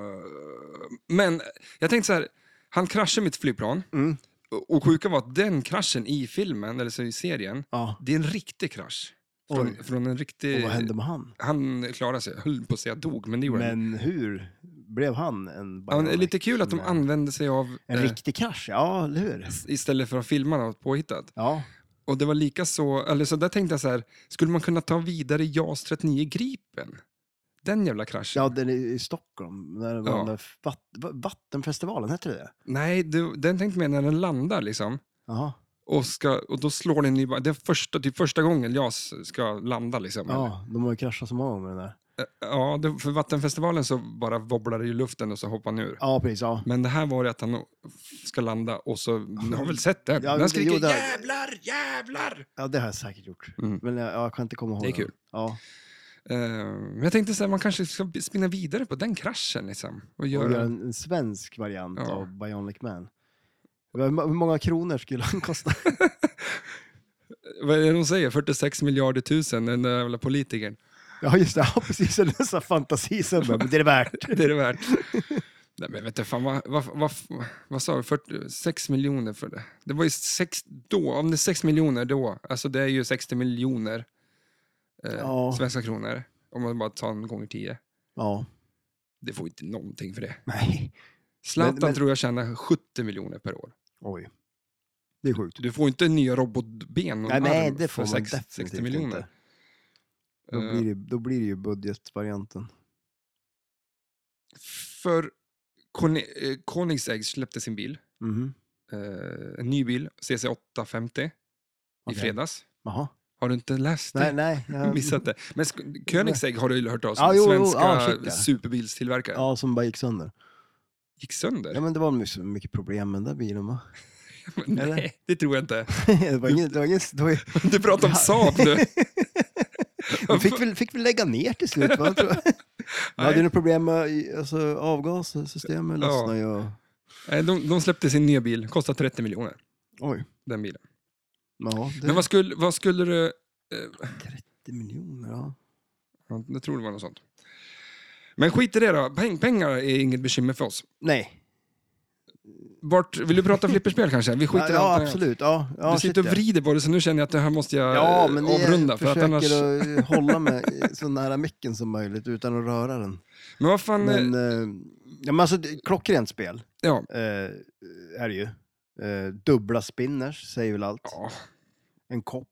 A: men jag tänkte så här, han kraschade mitt flygplan.
B: Mm.
A: Och- Och sjuka var att den kraschen i filmen, eller så i serien,
B: Ja.
A: det är en riktig krasch.
B: Oj.
A: Från, från en riktig...
B: Och vad hände med han?
A: Han klarade sig, höll på att säga dog, men det gjorde han
B: Men hur blev han en
A: Ja, men det är
B: bionic?
A: lite kul att de
B: Nej.
A: använde sig av
B: En
A: eh,
B: riktig krasch, ja, eller hur?
A: istället för att filma något påhittat.
B: Ja,
A: Och det var lika så, eller så där tänkte jag så här, skulle man kunna ta vidare JAS 39 Gripen? Den jävla kraschen.
B: ja den är i Stockholm, när det var
A: Ja.
B: den där vatt, va- vattenfestivalen, hette det det?
A: Nej, du, den tänkte jag när den landar liksom.
B: Jaha.
A: Och, ska, och då slår den ju bara, det är första, typ första gången JAS ska landa liksom.
B: Ja, de har ju kraschat så många gånger med den där.
A: ja det, för Vattenfestivalen så bara wobblar det i luften och så hoppar han ur.
B: Ja, precis. Ja.
A: Men det här var det att han ska landa och så, ni har väl sett den?
B: Ja, men det-
A: den skriker
B: jo, det-
A: jävlar, jävlar!
B: ja, det har jag säkert gjort.
A: Mm.
B: Men jag, jag kan inte komma ihåg.
A: Det är
B: den.
A: kul.
B: Ja,
A: Eh, Men jag tänkte så här, man kanske ska spinna vidare på den kraschen. Liksom, och
B: och
A: göra...
B: göra en, en svensk variant
A: Ja.
B: av Bionic Man. Hur hur många kronor skulle han kosta?
A: Vad är det de säger? 46 miljarder tusen, den där jävla politikern.
B: Ja, just det. Ja, precis. En sån här fantasisumma. Men det är det värt.
A: Det är det värt. Nej, men vet du, fan, vad, vad, vad, vad sa du? 40, 6 miljoner för det. Det var ju 6 då. Om det är 6 miljoner då, alltså det är ju 60 miljoner eh,
B: Ja.
A: svenska kronor. Om man bara tar en gånger 10.
B: Ja.
A: Det får ju inte någonting för det.
B: Nej.
A: Zlatan
B: men-
A: tror jag tjänar 70 miljoner per år.
B: Oj. Det är sjukt.
A: Du får ju inte nya robotben och
B: Nej,
A: en
B: nej,
A: arm
B: det får
A: för
B: man
A: sex- 60
B: definitivt
A: miljoner.
B: inte. Då
A: Eh,
B: blir, det, då blir det ju budgetvarianten.
A: För Koni- eh, Koenigsegg släppte sin bil,
B: Mhm.
A: eh, en ny bil, CC850, i
B: Okej.
A: fredags.
B: Jaha.
A: Har du inte läst det?
B: Nej, nej. Jag,
A: Missat det. Men sk- Koenigsegg har du ju hört av som
B: Ja, jo, jo,
A: svenska
B: ja, shit, ja.
A: superbilstillverkare.
B: ja, som bara gick sönder.
A: Gick sönder?
B: Ja, men det var nog så mycket problem med den där bilen, va?
A: Nej,
B: eller?
A: det tror jag inte.
B: det var ingen... Det var ingen det var, ju-
A: Du pratar om Saab nu.
B: de fick väl, fick väl lägga ner till slut, va? Tror jag. De hade ju något problem med i- alltså, avgassystemet
A: Ja.
B: lossnade ju och...
A: Nej, de, de släppte sin nya bil, kostar 30 miljoner.
B: Oj.
A: Den bilen.
B: Ja, det
A: Men vad skulle, vad skulle du... Eh,
B: 30 miljoner, ja.
A: ja, jag tror det var något sånt. Men skit i det då, Peng, pengar är inget bekymmer för oss.
B: Nej.
A: Vart, vill du prata flipperspel kanske? Vi skiter
B: Ja,
A: i allt
B: ja
A: annat.
B: absolut. Ja, ja,
A: Du sitter och
B: shit, ja.
A: vrider på det, så nu känner jag att det här måste jag
B: Ja,
A: eh,
B: men jag
A: avrunda. För att
B: försöker
A: annars...
B: att eh, hålla mig så nära micken som möjligt utan att röra den.
A: Men vad fan...
B: Men,
A: eh,
B: eh, ja, men alltså, det är klockrent spel
A: ja.
B: eh, är det ju. Eh, dubbla spinners säger väl allt.
A: ja.
B: En kopp.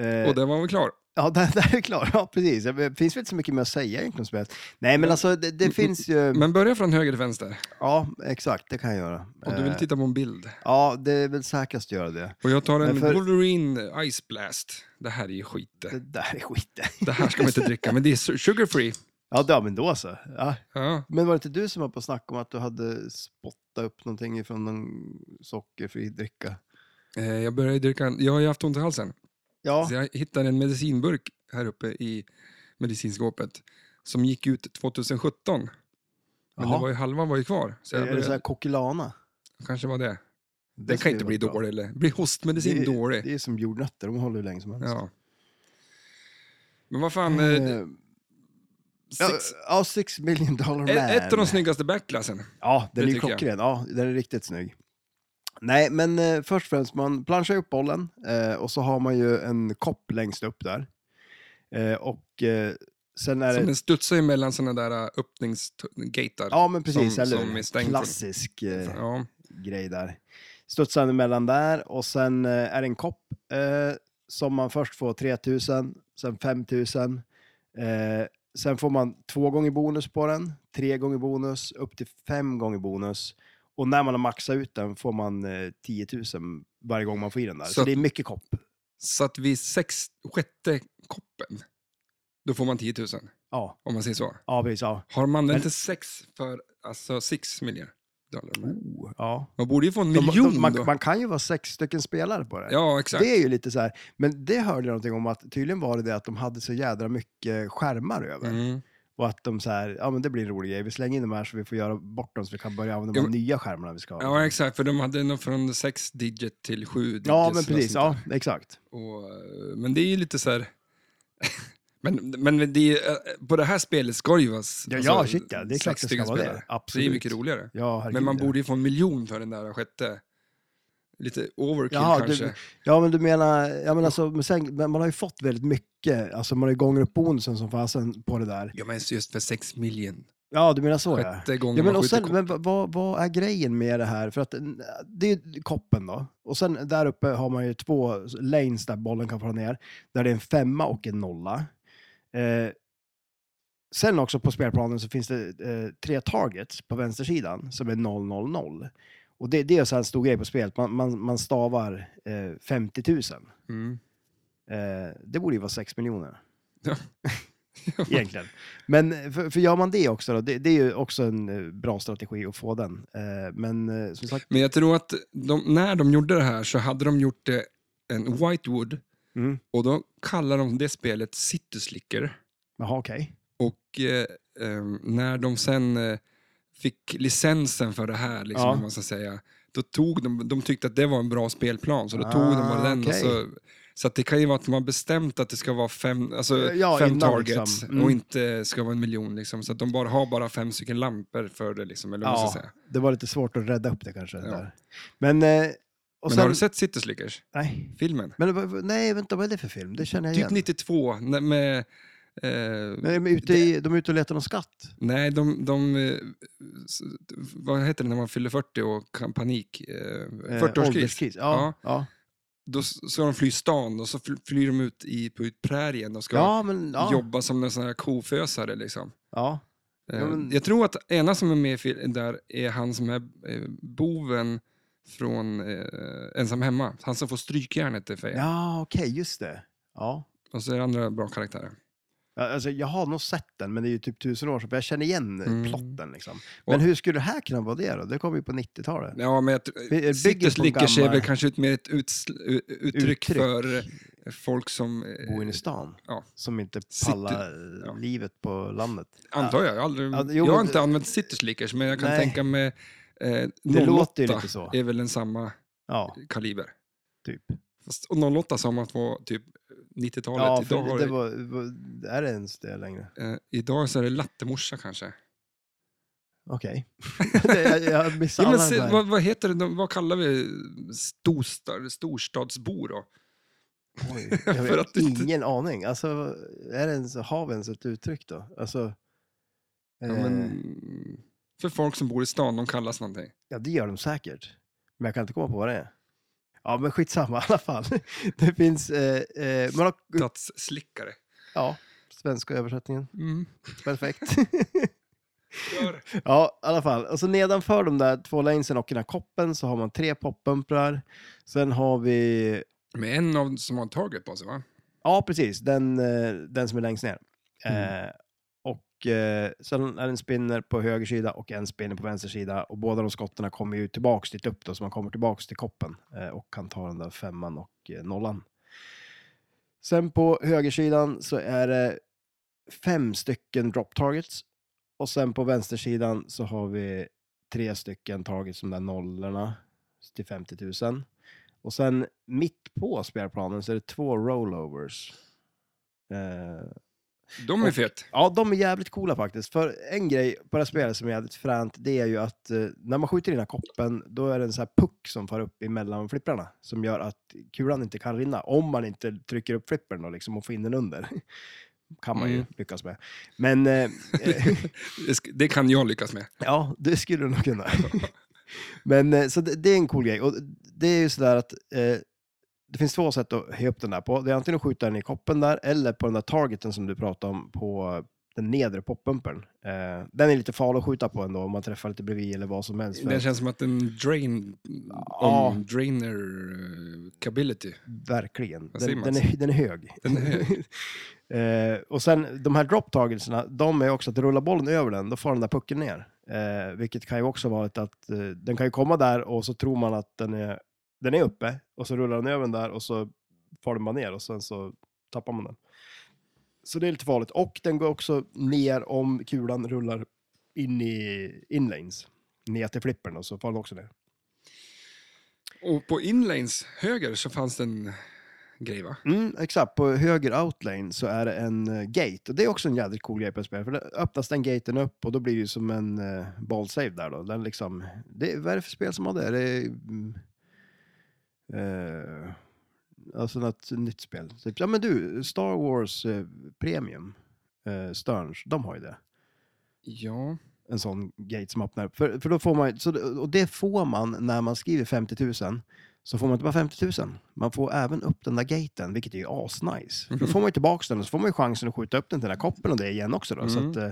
B: Eh,
A: Och där var vi klar.
B: Ja, där, där är klar. Ja, precis. Ja, men Det finns väl inte så mycket mer att säga egentligen om spelet. Nej, men alltså det,
A: Mm,
B: det finns ju...
A: Men börja från höger till vänster.
B: Ja, exakt. Det kan jag göra.
A: Och du vill
B: Eh,
A: titta på en bild.
B: Ja, det är väl säkrast att göra det.
A: Och jag tar en
B: men för-
A: Wolverine Ice Blast. Det här är ju skit.
B: Det där är skit.
A: Det här ska man inte dricka, men det är su- sugar free.
B: Ja, det, ja men då så. Ja.
A: Ja.
B: Men var det inte du som var på snack om att du hade spottat upp någonting från någon sockerfri dricka?
A: Eh, Jag började dricka, en- jag har ju haft ont i halsen.
B: Ja,
A: Så jag hittade en medicinburk här uppe i medicinskåpet. Som gick ut 2017. Men
B: Jaha.
A: det var ju, halva var ju kvar. Så jag
B: är det så
A: började,
B: här kokilana?
A: kanske var det.
B: Det
A: Den
B: ska
A: kan
B: ju
A: inte
B: vara
A: bli
B: bra.
A: dålig. Eller, blir hostmedicin
B: Det är-
A: dålig?
B: Det är som jordnötter, de håller hur länge som helst.
A: Ja. Alltså. Men vad fan, eh,
B: Eh, Ja,
A: sex,
B: ja, six million dollar man.
A: eh, ett av de snyggaste backlassen.
B: Ja, den
A: Det
B: är ju
A: tycker jag.
B: klockren. Ja, den är riktigt snygg. Nej, men eh, först och främst, man planchar upp bollen eh, och så har man ju en kopp längst upp där. Eh, och eh, sen är
A: Som
B: det...
A: den studsar ju mellan såna där eh, öppningsgater.
B: Ja, men precis.
A: som-
B: eller
A: som är stängd från-
B: klassisk eh,
A: Ja.
B: grej där. Studsar emellan där och sen eh, är det en kopp eh, som man först får 3000, sen 5000. Eh, sen får man två gånger bonus på den, tre gånger bonus, upp till fem gånger bonus. Och när man har maxat ut den får man eh, 10 000 varje gång man får i den där. Så,
A: Så att-
B: det är mycket kopp.
A: Så att vid sex, sjätte koppen, då får man 10 000,
B: Ja,
A: om man säger så.
B: ja precis. Ja.
A: Har man
B: Men-
A: inte sex för, alltså sex miljoner dollar?
B: ja.
A: Man borde ju få en
B: Mm. De-
A: Oh. miljon
B: de, man,
A: då.
B: man kan ju vara sex stycken spelare på det.
A: ja, exakt.
B: Det är ju lite så här, men det hörde jag någonting om att tydligen var det det att de hade så jädra mycket skärmar över.
A: Mm.
B: Och att de så här, ja men det blir en rolig grej, vi slänger in de här så vi får göra bort dem så vi kan börja använda
A: Ja,
B: de
A: men-
B: nya skärmarna vi ska ha.
A: Ja, exakt. För de hade nog från sex digit till sju digits.
B: Ja, men
A: eller
B: precis,
A: sånt
B: ja exakt.
A: där. Och, eh, men det är ju lite så här... Men, men det är, ju, eh, på det här spelet ska det ju vara s-
B: Ja,
A: alltså,
B: ja shit ja, det är klart
A: sex
B: det ska
A: stycken
B: vara det.
A: spelare. Det är
B: Absolut.
A: ju mycket roligare.
B: Ja, herregud,
A: Men man
B: ja.
A: borde ju få en miljon för den där sjätte. Lite overkill
B: Jaha,
A: kanske.
B: du, ja, men du menar, ja, men alltså, men sen, men man har ju fått väldigt mycket, alltså man har ju gånger upp bonusen som fasen på det där.
A: Ja, men just för sex miljon.
B: Ja, du menar så ja.
A: Sjätte gången
B: Ja, men,
A: man
B: och
A: skjuter
B: sen,
A: kort.
B: men vad- vad, vad är grejen med det här? För att n- det är ju koppen då. Och sen där uppe har man ju två lanes där bollen kan falla ner. Där det är en femma och en nolla. Eh, sen också på spelplanen så finns det eh, tre targets på vänstersidan som är 000. Och det, det är så här en stor grej på spelet. Man, man, man stavar eh, 50 000.
A: Mm.
B: Eh, det borde ju vara 6 miljoner.
A: Ja.
B: Egentligen. Men eh, för, för gör man det också då, det, det är ju också en eh, bra strategi att få den. Eh, men eh, som sagt,
A: Men jag tror att de, när de gjorde det här så hade de gjort det en Whitewood
B: mm.
A: och då kallar de det spelet City Slicker.
B: jaha okej.
A: Och eh, ehm, när de sen eh, fick licensen för det här, liksom,
B: Ja.
A: om man ska säga, då tog de, de tyckte att det var en bra spelplan, så då
B: Ah,
A: tog de bara den. Och
B: okej.
A: så Så att det kan ju vara att de har bestämt att det ska vara fem, alltså,
B: Eh, Ja,
A: fem
B: innan,
A: targets
B: liksom. Mm.
A: och inte ska vara en miljon. Liksom, så att de bara har bara fem stycken lampor för det. Liksom, eller vad man
B: Ja,
A: ska säga.
B: det var lite svårt att rädda upp det kanske.
A: Ja.
B: Där. Men, eh,
A: Men
B: och sen,
A: har du sett City Slickers?
B: Nej.
A: Filmen?
B: Men, vad- vad- nej, vänta, vad är det för film? Det känner jag
A: Typ
B: igen.
A: 92, när- med... eh,
B: Men de, är ute i, de är ute och letar någon skatt.
A: Nej, de, de... eh, s- Vad heter det när man fyller 40 och kan panik? Eh,
B: Eh,
A: 40-årskris.
B: ålderskris. Ja, ja.
A: Då s- ska de fly stan och så fly- flyr de ut i, på ut prärien och ska
B: ja, men... Ja.
A: jobba som en sån här kofösare. Liksom.
B: Ja.
A: Eh,
B: Ja, men-
A: Jag tror att ena som är med i fil- där är han som är eh, boven från eh, Ensam Hemma. Han som får strykjärnet i fejan.
B: Ja, okej, just det. Ja.
A: Och så är det andra bra karaktärer.
B: Ja, Alltså, jag har nog sett den, men det är ju typ tusen år sedan, för jag känner igen eh,
A: Mm.
B: plotten. Liksom.
A: Och-
B: Men hur skulle det här kunna vara det då? Det kom ju på 90-talet.
A: Ja, men jag tr-
B: Bygger på
A: Citrus Lickers är
B: gammal-
A: väl kanske ut mer ett utsl- u- uttryck,
B: Uttryck.
A: för eh, folk som... eh,
B: Bo in i stan,
A: ja.
B: som inte
A: City-
B: pallar eh,
A: ja.
B: livet på landet.
A: Antar jag. Jag, har aldrig,
B: Ja, jo,
A: jag har
B: men-
A: inte använt Citrus Lickers, men jag kan
B: Nej.
A: tänka mig... Eh,
B: Det
A: 08
B: låter ju lite så.
A: är väl en samma
B: Ja,
A: kaliber.
B: typ.
A: Fast, och 08 sa man att var typ 90-talet.
B: Ja,
A: idag,
B: för
A: har
B: det
A: det-
B: var, var, är det ens det längre?
A: eh, idag så är det lattemorsa kanske.
B: Okej. Det- jag, jag missar
A: Ja,
B: alla
A: men,
B: de
A: se,
B: här.
A: vad, vad heter det? de- Vad kallar vi storstad, storstadsbor då?
B: Oj, jag
A: för
B: har
A: att du inte-
B: ingen aning. Alltså, är det ens, har vi ens ett uttryck då? Alltså,
A: Ja,
B: eh,
A: men, för folk som bor i stan, de kallas någonting.
B: Ja, det gör de säkert. Men jag kan inte komma på vad det är. Ja, men skitsamma i alla fall. Det finns... Eh, eh, man har,
A: Stadsslickare.
B: ja, svenska översättningen.
A: Mm.
B: Perfekt.
A: Gör.
B: ja, i alla fall. Och så nedanför de där två lanesen och den här koppen så har man tre poppumprar. Sen har vi...
A: Med en av som har en target på sig va?
B: Ja, precis. Den, eh, den som är längst ner. Eh, och eh, sen är det en spinner på höger sida och en spinner på vänster sida. Och båda de skottarna kommer ju tillbaks dit upp då, så man kommer tillbaks till koppen eh, och kan ta den där femman och eh, nollan. Sen på högersidan så är det fem stycken drop targets. Och sen på vänstersidan så har vi tre stycken targets, de där nollorna till 50 000. Och sen mitt på spelplanen så är det två rollovers. Eh,
A: De är
B: Och-
A: fet.
B: Ja, de är jävligt coola faktiskt. För en grej på det här spelet som är jävligt fränt, det är ju att eh, när man skjuter i den här koppen, då är det en sån här puck som far upp emellan flipprarna, som gör att kulan inte kan rinna, om man inte trycker upp flippern och, liksom, och får in den under. kan man ju
A: Mm.
B: lyckas med. Men eh, eh,
A: Det sk- Det kan jag lyckas med.
B: ja, det skulle du nog kunna. Men eh, så det, det är en cool grej. Och det är ju sådär att eh, det finns två sätt att höja upp den där på. Det är antingen att skjuta den i koppen där eller på den där targeten som du pratade om på den nedre poppumpern. Eh, den är lite farlig att skjuta på ändå om man träffar lite bredvid eller vad som helst. För
A: Den känns som att en drain...
B: Ja.
A: Om drainer... eh, capability.
B: Verkligen.
A: Vad säger
B: Den,
A: man?
B: den, är, den är hög.
A: Den är
B: eh, och sen de här dropptagelserna, de är också att rulla bollen över den, då far den där pucken ner. Eh, vilket kan ju också vara lite att eh, den kan ju komma där och så tror man att den är, den är uppe och så rullar den över den där och så far den bara ner och sen så tappar man den. Så det är lite farligt. Och den går också ner om kulan rullar in i inlanes. Ner till flippern och så far den också ner.
A: Och på inlanes höger så fanns det en grej va?
B: Mm, exakt, på höger outlane så är det en eh, gate. Och det är också en jädrigt cool grej på ett spel. För det öppnas den gaten upp och då blir det ju som en uh, ball save där då. Den liksom, det, vad är det för spel som har det? det är, mm, eh, alltså något nytt spel. Typ, ja men du, Star Wars eh, Premium, uh, Sterns, de har ju det
A: Ja.
B: en sån gate som öppnar upp. För, för då får man, ju- så, det- och det får man när man skriver 50 000. Så får man inte bara 50 000. Man får även upp den där gaten, vilket är ju asnice. För Då
A: Mhm.
B: får man ju tillbaka den och så får man ju chansen att skjuta upp den till den där koppen och det igen också. Då. Så,
A: Mm.
B: att, eh,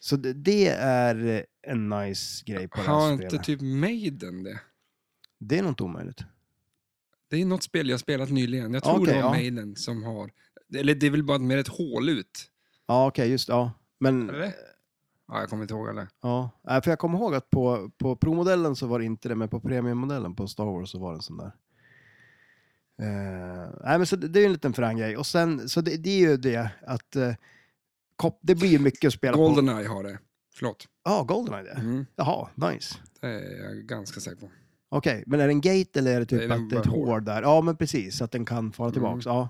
B: så det, det är en nice grej på det
A: Har
B: här
A: inte
B: spelet.
A: typ Maiden det?
B: Det är nog inte omöjligt.
A: Det är något spel jag spelat nyligen. Jag tror
B: Okej,
A: det var
B: ja.
A: Maiden som har... Eller det är väl bara mer ett hål ut?
B: Ja, okej, just ja. Men,
A: Eller? Ja, jag kommer inte ihåg alla.
B: ja. Nej, För jag kommer ihåg att på, på Pro-modellen så var det inte det, men på Premium-modellen på Star Wars så var det en sån där. Eh, nej, men så det, det är ju en liten frän grej. Och sen, så det, det är ju det att eh, kop, det blir ju mycket att spela på.
A: Goldeneye har det. Förlåt.
B: Ja, Goldeneye det.
A: Mm.
B: Jaha, nice.
A: Det är jag ganska säker på.
B: Okej, men är det en gate eller är det typ
A: Nej, den
B: att det är ett
A: bara hål. Mm.
B: hål där? Ja, men precis. Så att den kan fara tillbaks. Ja.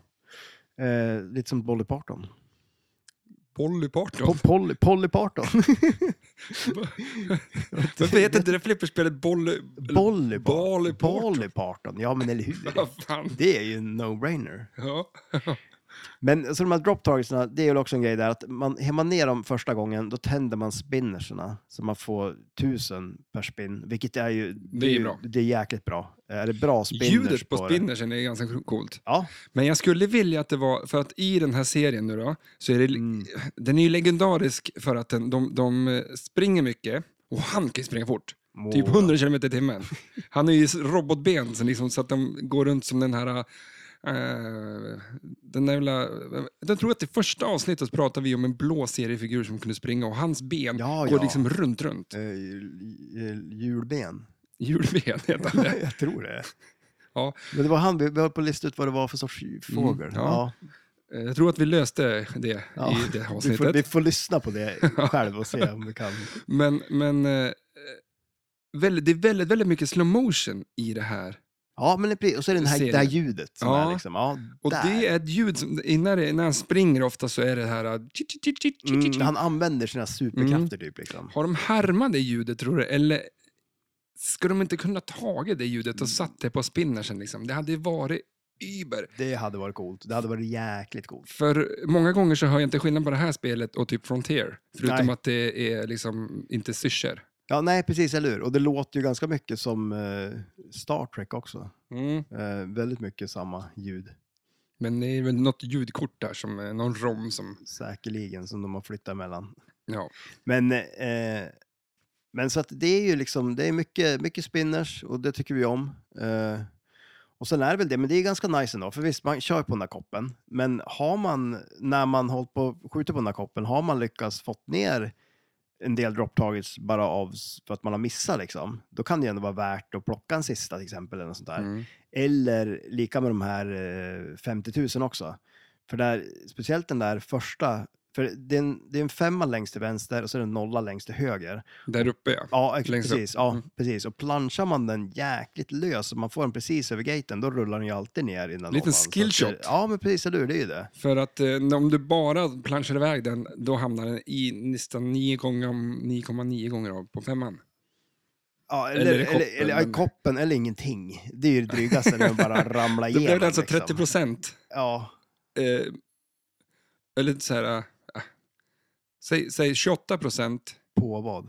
B: Eh, lite som Dolly Parton.
A: Polly Parton.
B: Po- Polly, Polly Parton.
A: Varför heter inte det flipperspelet Bolly... eller
B: Bolly
A: Bolly
B: Parton.
A: Parton.
B: Bolly Parton. Ja, men eller hur?
A: Vad fan.
B: Det är ju en no-brainer.
A: Ja.
B: Men så de här drop targetsna, det är ju också en grej där att man, är man ner dem första gången, då tänder man spinnerserna så man får tusen per spinn, vilket är ju...
A: Det är
B: ju-
A: bra.
B: Det är jäkligt bra. Är det bra spinners
A: Ljudet på
B: det?
A: spinnersen är ganska coolt.
B: Ja,
A: Men jag skulle vilja att det var, för att i den här serien nu då, så är det,
B: Mm.
A: den är ju legendarisk för att den, de, de eh, springer mycket och han kan ju springa fort. Typ
B: Wow.
A: 100 km i timmen. Han är ju robotben så, liksom, så att de går runt som den här... eh, den där jävla, eh, jag tror att i första avsnittet så pratade vi om en blå seriefigur som kunde springa och hans ben
B: Ja,
A: går
B: ja.
A: liksom runt, runt.
B: eh, jul- julben.
A: Julben heter han.
B: Jag tror det.
A: Ja. Mm,
B: Men det var han, vi vi höll på att lista ut vad det var för sorts fågel.
A: ja. Eh, Jag tror att vi löste det
B: ja.
A: i det
B: vi, får,
A: avsnittet.
B: vi får lyssna på det själv och se om vi kan.
A: Men, men eh, eh, väldigt, det är väldigt, väldigt mycket slow motion i det här.
B: Ja, men det blir- och så är det, den här,
A: Ser
B: det här
A: det.
B: ljudet som
A: Ja.
B: är liksom, ja,
A: Och
B: där.
A: det är ett ljud som, innan, det, när han springer ofta så är det här... eh, tji, tji, tji, tji, tji, tji,
B: Mm,
A: tji.
B: han använder sina superkrafter typ liksom.
A: Har de härmat det ljudet tror du? Eller ska de inte kunna tagit det ljudet och satt det på spinnersen liksom? Det hade ju varit über.
B: Det hade varit coolt. Det hade varit jäkligt coolt.
A: För många gånger så hör jag inte skillnad på det här spelet och typ Frontier. Förutom
B: Nej.
A: att det är liksom inte syrsor.
B: Ja, nej, precis, eller hur? Och det låter ju ganska mycket som eh, Star Trek också.
A: Mm.
B: Eh, väldigt mycket samma ljud,
A: Men det är väl något ljudkort där, som, eh, någon rom som...
B: säkerligen, som de har flyttat emellan.
A: Ja.
B: Men, eh, men så att det är ju liksom, det är mycket, mycket spinners och det tycker vi om. Eh, och sen är det väl det, men det är ganska nice ändå, för visst, man kör på den där koppen, men har man, när man hållit på och skjutit på den där koppen, har man lyckats fått ner en del drop targets bara av s- för att man har missat liksom, då kan det ju ändå vara värt att plocka en sista till exempel eller något sånt där.
A: Mm.
B: Eller lika med de här eh, 50 000 också. För där, speciellt den där första, för det är, en, det är en femma längst till vänster och så är det en nolla längst till höger.
A: Där uppe ja.
B: Ja, ex-
A: Längst upp.
B: precis. Ja,
A: Mm.
B: precis. Och planchar man den jäkligt lös och man får den precis över gaten, då rullar den ju alltid ner i den
A: Liten
B: nollan. Så att
A: skillshot.
B: det- Ja, men precis, eller hur? Det är ju det.
A: För att eh, om du bara planschar iväg den, då hamnar den i nästan 9 gånger om- 9,9 gånger av på femman.
B: Ja, eller,
A: Eller i
B: eller,
A: koppen,
B: eller, ja, i
A: men-
B: koppen eller ingenting. Det är ju det drygaste när man bara ramlar
A: Då
B: igenom.
A: blev det alltså 30
B: liksom.
A: procent.
B: Ja,
A: Eh, eller så här, eh, säg, säg 28 procent
B: på vad?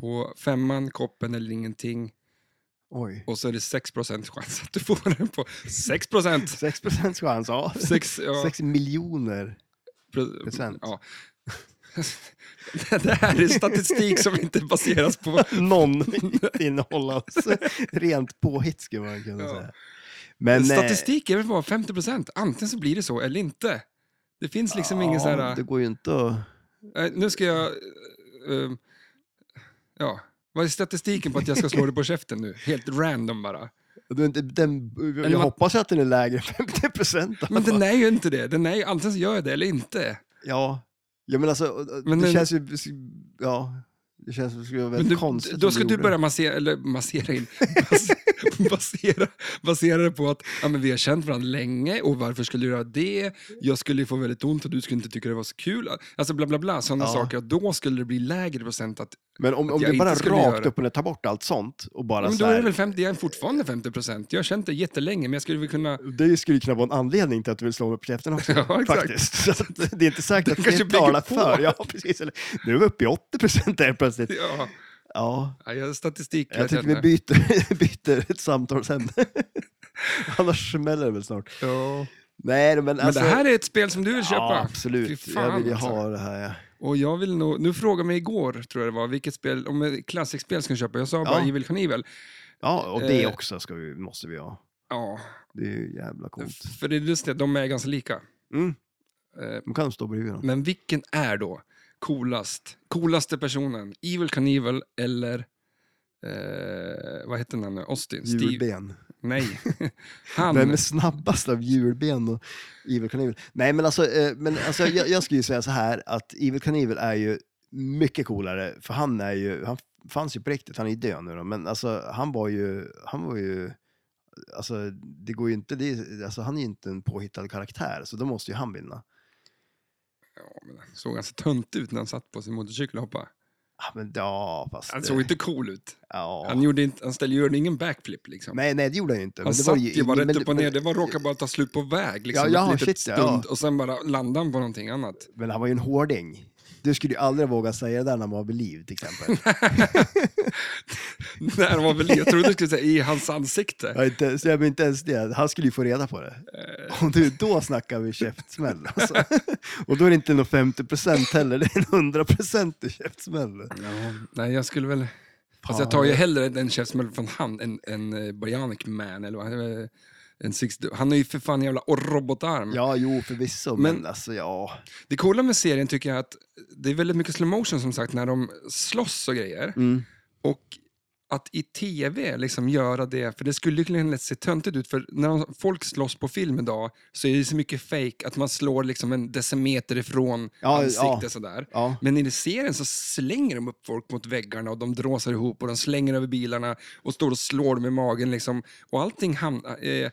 A: på femman, koppen eller ingenting.
B: Oj.
A: Och så är det 6 procent chans att du får den på 6 procent.
B: 6 procents chans, ja.
A: 6, ja,
B: 6 miljoner.
A: pro-
B: procent.
A: Ja. det här är statistik som inte baseras på
B: någon innehåll alls. Rent påhitt skulle man kunna
A: Ja.
B: säga. Men, eh,
A: Statistik är väl bara 50 procent. Antingen så blir det så eller inte. Det finns liksom ingen så här...
B: Det går ju inte att...
A: eh, Nu ska jag... eh, eh, ja. Vad är statistiken på att jag ska slå dig på käften nu? Helt random bara.
B: Du, inte- den, jag
A: man-
B: hoppas att den är lägre än 50 procent.
A: Men den är ju inte det. Den är ju, antingen så gör jag det eller inte.
B: Ja. ja, men alltså
A: Men
B: det
A: den-
B: känns ju... Ja, det känns som det skulle vara
A: Men
B: väldigt
A: du,
B: konstigt. om
A: då ska du
B: gjorde
A: börja massera, eller massera in, bas, basera, basera det på att ja, men vi har känt varandra länge och varför skulle du göra det? Jag skulle ju få väldigt ont och du skulle inte tycka det var så kul. Alltså bla bla bla, sådana
B: Ja.
A: saker. Då skulle det bli lägre procent att
B: Men om,
A: att
B: om
A: jag
B: du bara
A: inte skulle göra
B: rakt
A: det.
B: upp och ner tar bort allt sånt och bara
A: Ja, men
B: så
A: då är det
B: här...
A: väl 50, jag är fortfarande 50 procent. Jag har känt det jättelänge, men jag skulle väl kunna...
B: Det skulle ju kunna vara en anledning till att du vill slå mig på käften också.
A: Ja, exakt.
B: faktiskt. Så att det är inte säkert att
A: kanske
B: det talar
A: bygger på.
B: för. Ja, precis. Eller, nu är vi uppe i 80 procent där plötsligt.
A: Ja,
B: Ja,
A: ja, jag har statistik.
B: Jag
A: vet
B: tycker vi
A: inte.
B: byter, byter ett samtalsämne. Annars smäller det väl snart.
A: ja.
B: Nej, men,
A: Men
B: alltså,
A: det här är ett spel som du vill köpa.
B: Ja,
A: Fy
B: absolut.
A: fan,
B: jag vill ju
A: alltså.
B: ha det här. Ja.
A: Och jag vill nog... Nu frågade mig igår, tror jag det var, vilket spel, om ett klassikspel ska jag köpa. Jag sa bara
B: Ja.
A: Evil Knievel.
B: ja, och det
A: Eh.
B: också ska vi, måste vi ha.
A: Ja,
B: Det är ju jävla coolt.
A: för det är just det, de är ganska lika.
B: Mm.
A: Eh,
B: De kan stå bredvid dem.
A: Men vilken är då coolast? Coolaste personen? Evil Knievel eller... Eh, vad heter han nu? Austin? Steve?
B: Julben.
A: Nej. Han.
B: Vem är snabbast av julben och Evil Knievel? Nej, men alltså, eh, men alltså jag, jag skulle ju säga så här att Evil Knievel är ju mycket coolare, för han är ju, han fanns ju på riktigt, han är ju död nu då, men alltså han var ju, han var ju, alltså det går ju inte, det, är- alltså han är ju inte en påhittad karaktär, så då måste ju han vinna.
A: Ja, men han såg ganska tunt ut när han satt på sin motorcykel och hoppade.
B: Ah, men ja, fast...
A: Han
B: det-
A: såg inte cool ut.
B: Alltså- Ja.
A: Han, gjorde inte, han ställde, gjorde ingen backflip liksom.
B: Nej, nej, det gjorde han ju inte.
A: han
B: det
A: satt
B: ju-
A: ju bara
B: men-
A: rätt upp och
B: men-
A: ner. Det var råkade bara ta slut på väg liksom.
B: Ja, ja,
A: ett litet
B: shit, ja.
A: stund, Och sen bara landade han på någonting annat.
B: Men han var ju en hårding. Du skulle ju aldrig våga säga det där när man var vid liv till exempel.
A: Nej, det var väl, jag trodde du skulle säga i hans ansikte.
B: Jag inte, ens- jag men inte ens det. Han skulle ju få reda på det. Och du, då snackar vi käftsmäll alltså. Och då är det inte någon 50% heller, det är en 100% i käftsmäll.
A: Ja, nej, jag skulle väl... Alltså jag tar ju hellre en käftsmäll från han än en Bionic Man. Eller, vad- eh, en six, han är ju för fan jävla och robotarm.
B: Ja, jo, förvisso, men, alltså ja.
A: Det coola med serien tycker jag att det är väldigt mycket slow motion som sagt när de slåss och grejer.
B: Mm.
A: Och att i tv liksom göra det, för det skulle ju kunna lätt se töntigt ut, för när de- folk slåss på film idag så är det så mycket fake att man slår liksom en decimeter ifrån
B: Ja,
A: ansiktet
B: ja.
A: sådär.
B: Ja.
A: Men i serien så slänger de upp folk mot väggarna och de dråsar ihop och de slänger över bilarna och står och slår dem i magen liksom. Och allting hamnar eh,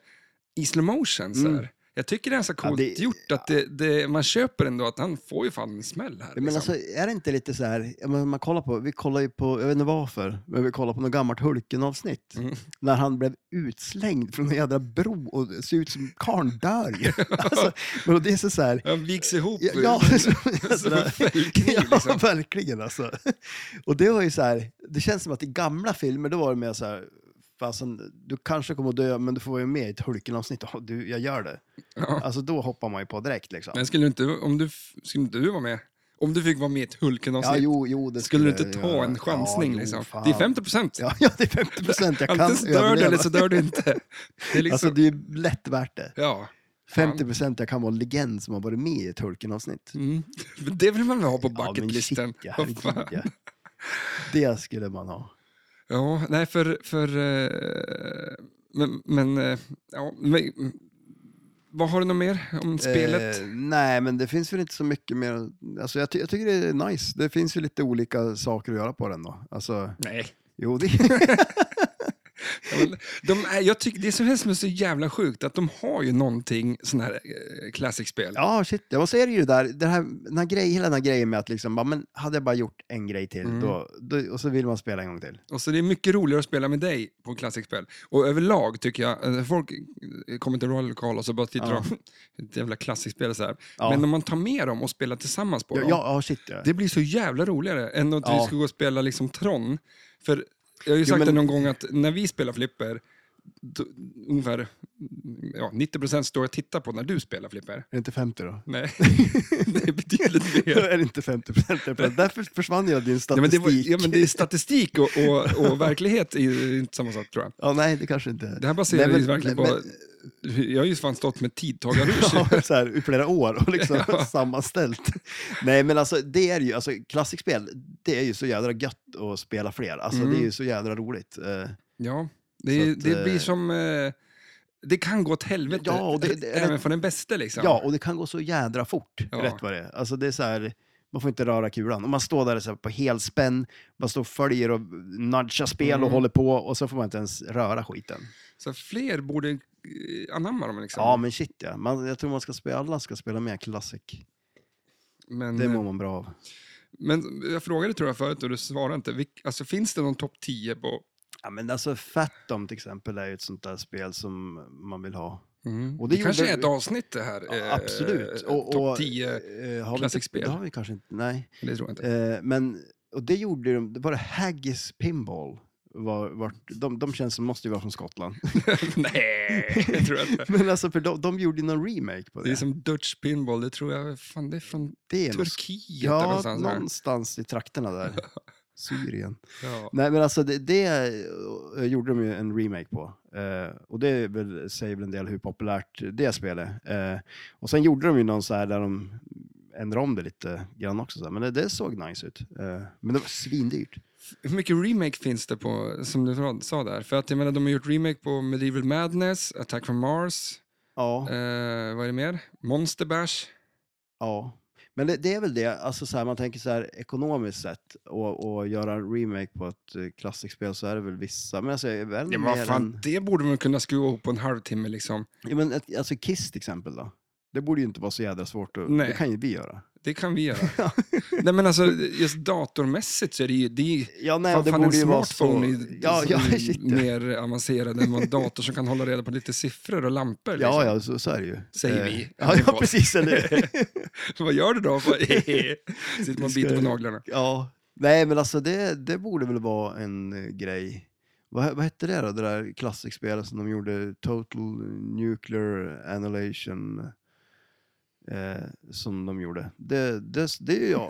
A: i slow motion så här. Jag tycker det är så coolt
B: Mm. det-
A: gjort att det, det, man köper ändå att han får ju fan en smäll här.
B: Men
A: liksom.
B: alltså, är det inte lite så här, ja, men man kollar på, vi kollar ju på, jag vet inte varför, men vi kollar på något gammalt Hulken-avsnitt. När han blev utslängd från en jädra bro och det ser ut som karln dör ju. alltså, men det är så, så här,
A: han viks ihop.
B: Ja, ja, som,
A: som en fällkniv
B: ja
A: liksom.
B: verkligen alltså. Och det var ju så här, det känns som att i gamla filmer då var det mer så här, fasen, du kanske kommer att dö men du får vara med i ett Hulken-avsnitt, Ja, du, jag gör det.
A: Ja.
B: Alltså då hoppar man ju på direkt liksom.
A: Men skulle du inte, om du, f- skulle inte du vara med? Om du fick vara med i ett
B: Ja,
A: Hulken-avsnitt,
B: jo, jo, det
A: skulle du
B: jag
A: inte ta
B: göra.
A: en chansning?
B: Ja, jo,
A: liksom?
B: fan.
A: Det är 50 procent.
B: Ja, ja, det är 50 procent. Jag kan
A: Antingen så dör du
B: överleva.
A: eller så dör du inte. Det är liksom,
B: Alltså det är ju lätt värt det.
A: ja.
B: 50 procent, jag kan vara en legend som har varit med i ett Hulken-avsnitt.
A: Mm. Men Det vill man väl ha på
B: Ja, men shit,
A: bucketlisten?
B: ja,
A: Vad fan.
B: herregud, ja. Det skulle man ha.
A: Ja, nej för... för eh, men, men, eh, ja, men... Vad har du något mer om spelet?
B: Eh, nej, men det finns väl inte så mycket mer. Alltså, jag, ty- jag tycker det är nice. Det finns ju lite olika saker att göra på den då. Alltså,
A: Nej.
B: jo, det,
A: Ja, men De är, jag tycker, det är så hemskt men så jävla sjukt att de har ju någonting sån här eh, classic-spel.
B: ja, shit. Ja, och så är det ju det där, det här, den här grej, hela den här grejen med att liksom, bara, men hade jag bara gjort en grej till
A: Mm.
B: då, då, och så vill man spela en gång till.
A: Och så det är mycket roligare att spela med dig på klassikspel. Och överlag tycker jag, eh, folk eh, kommer till Royal och så bara tittar de, ett jävla klassikspel och så här.
B: Ja.
A: Men om man tar med dem och spelar tillsammans på
B: Ja,
A: dem,
B: ja, ja shit. Ja.
A: det blir så jävla roligare än att vi
B: Ja.
A: skulle gå och spela liksom Tron. För jag har ju sagt
B: men-
A: det någon gång att när vi spelar flipper, då, ungefär ja, 90% står jag och tittar på när du spelar flipper.
B: Är det inte 50 då?
A: Nej, det är betydligt
B: Då
A: mer.
B: är det inte 50 procent. Därför försvann jag din
A: Ja men, det
B: statistik.
A: var, ja, men det är statistik och, och, och verklighet är ju inte samma sak tror jag.
B: Ja, nej, det kanske inte är.
A: Det här baserar
B: Nej,
A: ju
B: men-
A: verkligen
B: men-
A: på... Jag har ju fan stått med tidtagarrus.
B: Ja, så här, i flera år och liksom
A: Ja.
B: sammanställt. Nej, men alltså det är ju, alltså klassikspel, det är ju så jädra gött att spela fler. Alltså det är ju så jädra roligt. Eh,
A: ja, det, är-
B: Så att,
A: det blir
B: eh,
A: som... eh, Det kan gå åt helvete,
B: Ja, och det- det-
A: även för den bästa liksom.
B: ja, och det kan gå så jädra fort,
A: Ja.
B: rätt vad det är. Alltså det är så här, man får inte röra kulan. Och man står där så här, på helspänn, man står och följer och nudgar spel och håller på och så får man inte ens röra skiten.
A: Så fler borde eh, anamma dem liksom.
B: Ja, men shit ja. Man, jag tror man ska spela, alla ska spela mer klassik.
A: men,
B: Det
A: eh,
B: mår man bra av.
A: men jag frågade tror jag förut och du svarade inte. Vilk, alltså, finns det någon topp 10 på...
B: Ja, men alltså Fatom till exempel är ju ett sånt där spel som man vill ha.
A: Mm.
B: Och
A: det
B: det
A: kanske
B: gjorde-
A: är ett avsnitt det här. eh,
B: Absolut. Och, och,
A: topp 10,
B: eh, har vi inte,
A: klassikspel.
B: Det har vi kanske inte, nej.
A: det tror jag inte.
B: Eh, men, och det gjorde de, det var det Haggis Pinball. Var, var, de, de känns som måste ju vara från Skottland.
A: Nej, det tror jag inte.
B: men alltså, för de, de gjorde ju någon remake på det.
A: Det är som Dutch pinball, det tror jag fan, det är från
B: Det är nog-
A: Turkiet eller
B: Ja,
A: någonstans. där.
B: någonstans i trakterna där. Syrien.
A: Ja.
B: Nej, men alltså det, det eh, gjorde de ju en remake på. Eh, och det är väl, säger väl en del hur populärt det spelet är. Eh, och sen gjorde de ju någon så här där de ändrade om det lite grann också. Så här. Men det, det såg nice ut. Eh, men det var svindyrt.
A: Hur mycket remake finns det på, som du sa där? För att jag menar, de har gjort remake på Medieval Madness, Attack from Mars,
B: Ja.
A: eh, vad är det mer? Monster Bash.
B: ja. Men det, det är väl det, alltså så här, man tänker så här ekonomiskt sett och, och göra en remake på ett eh, klassikspel så är det väl vissa, men alltså är väl
A: Ja, men
B: mer
A: vad
B: än-
A: fan, det borde man kunna skruva ihop på en halvtimme liksom.
B: Ja, men ett, alltså Kiss till exempel då. Det borde ju inte vara så jädra svårt. Att,
A: Nej.
B: Det kan ju vi göra.
A: Det kan vi göra. Nej men alltså, just datormässigt så är det ju... Det är, ju-
B: Ja, nej,
A: fan,
B: det
A: fan,
B: borde ju
A: en
B: vara så.
A: smartphone är ju
B: Ja, ja,
A: liksom
B: shit. ja.
A: mer avancerad än vad en dator som kan hålla reda på lite siffror och lampor. Liksom.
B: Ja, ja, så, så är det ju.
A: Säger
B: Eh,
A: vi.
B: Ja, ja precis. Eller? hur?
A: Vad gör du då? Sitter man och biter på
B: Ska-
A: naglarna.
B: ja. Nej, men alltså det, det borde väl vara en eh, grej. Vad, vad hette det då, det där klassikspelet som de gjorde? Total Nuclear Annihilation. Eh, som de gjorde. Det, det, det, ja,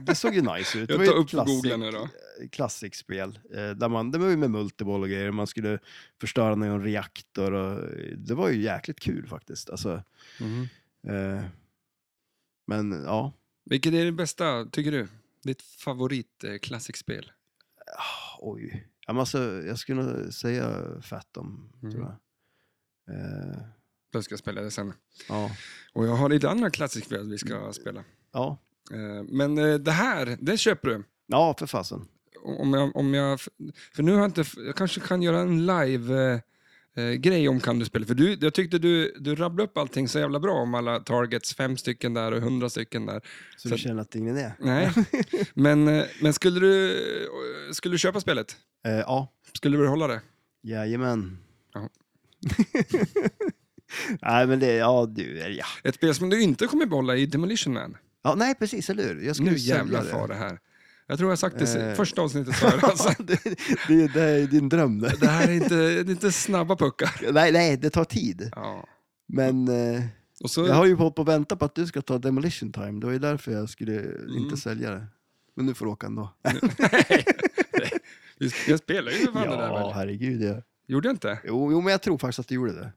B: det såg ju nice ut. Det
A: Jag
B: var ju
A: tar
B: ett
A: upp och googlar
B: klassik-
A: nu då.
B: klassikspel. Eh, där man, det var ju med multiboll och grejer, man skulle förstöra någon reaktor och eh, det var ju jäkligt kul faktiskt. Alltså,
A: Mhm.
B: eh, men ja,
A: Vilket är det bästa, tycker du? Ditt eh, favoritklassikspel?
B: ah, oj. Ja, men alltså, jag skulle nog säga Fatom,
A: Mm.
B: tror jag. Eh,
A: Jag ska spela det sen.
B: ja,
A: Och jag har lite andra klassikspel vi
B: Mm.
A: ska spela.
B: ja.
A: Eh, Men eh, det här, det köper du.
B: ja, för fasen.
A: Om jag, om jag, för nu har jag inte, jag kanske kan göra en live eh, eh, grej om kan du spela. För du, jag tyckte du, du rabblade upp allting så jävla bra om alla targets, fem stycken där och hundra stycken där.
B: Så,
A: Så-
B: du känner att ingen är?
A: Nej, men, eh, men skulle, du, eh, skulle du köpa spelet?
B: Eh, ja,
A: Skulle du behålla det?
B: jajamän.
A: Ja.
B: nej, men det, ja, du, ja.
A: Ett spel som du inte kommer behålla är Demolition Man.
B: ja. Nej, precis, eller hur? Jag skulle
A: Nu
B: sälja
A: jävlar
B: det.
A: far det här. Jag tror jag har sagt det i
B: Eh.
A: första avsnittet förr. Alltså.
B: det, det, det är din dröm det.
A: Det här är inte, det är inte snabba puckar.
B: Nej, nej, det tar tid.
A: Ja.
B: Men eh,
A: Och så,
B: jag har ju hållit på och väntat på att du ska ta demolition time. Det var ju därför jag skulle
A: Mm.
B: inte sälja det. Men nu får du åka ändå.
A: Vi- Jag spelade ju för fan det där
B: ja,
A: väl?
B: herregud. Ja.
A: Gjorde jag inte?
B: Jo, jo, men jag tror faktiskt att du gjorde det.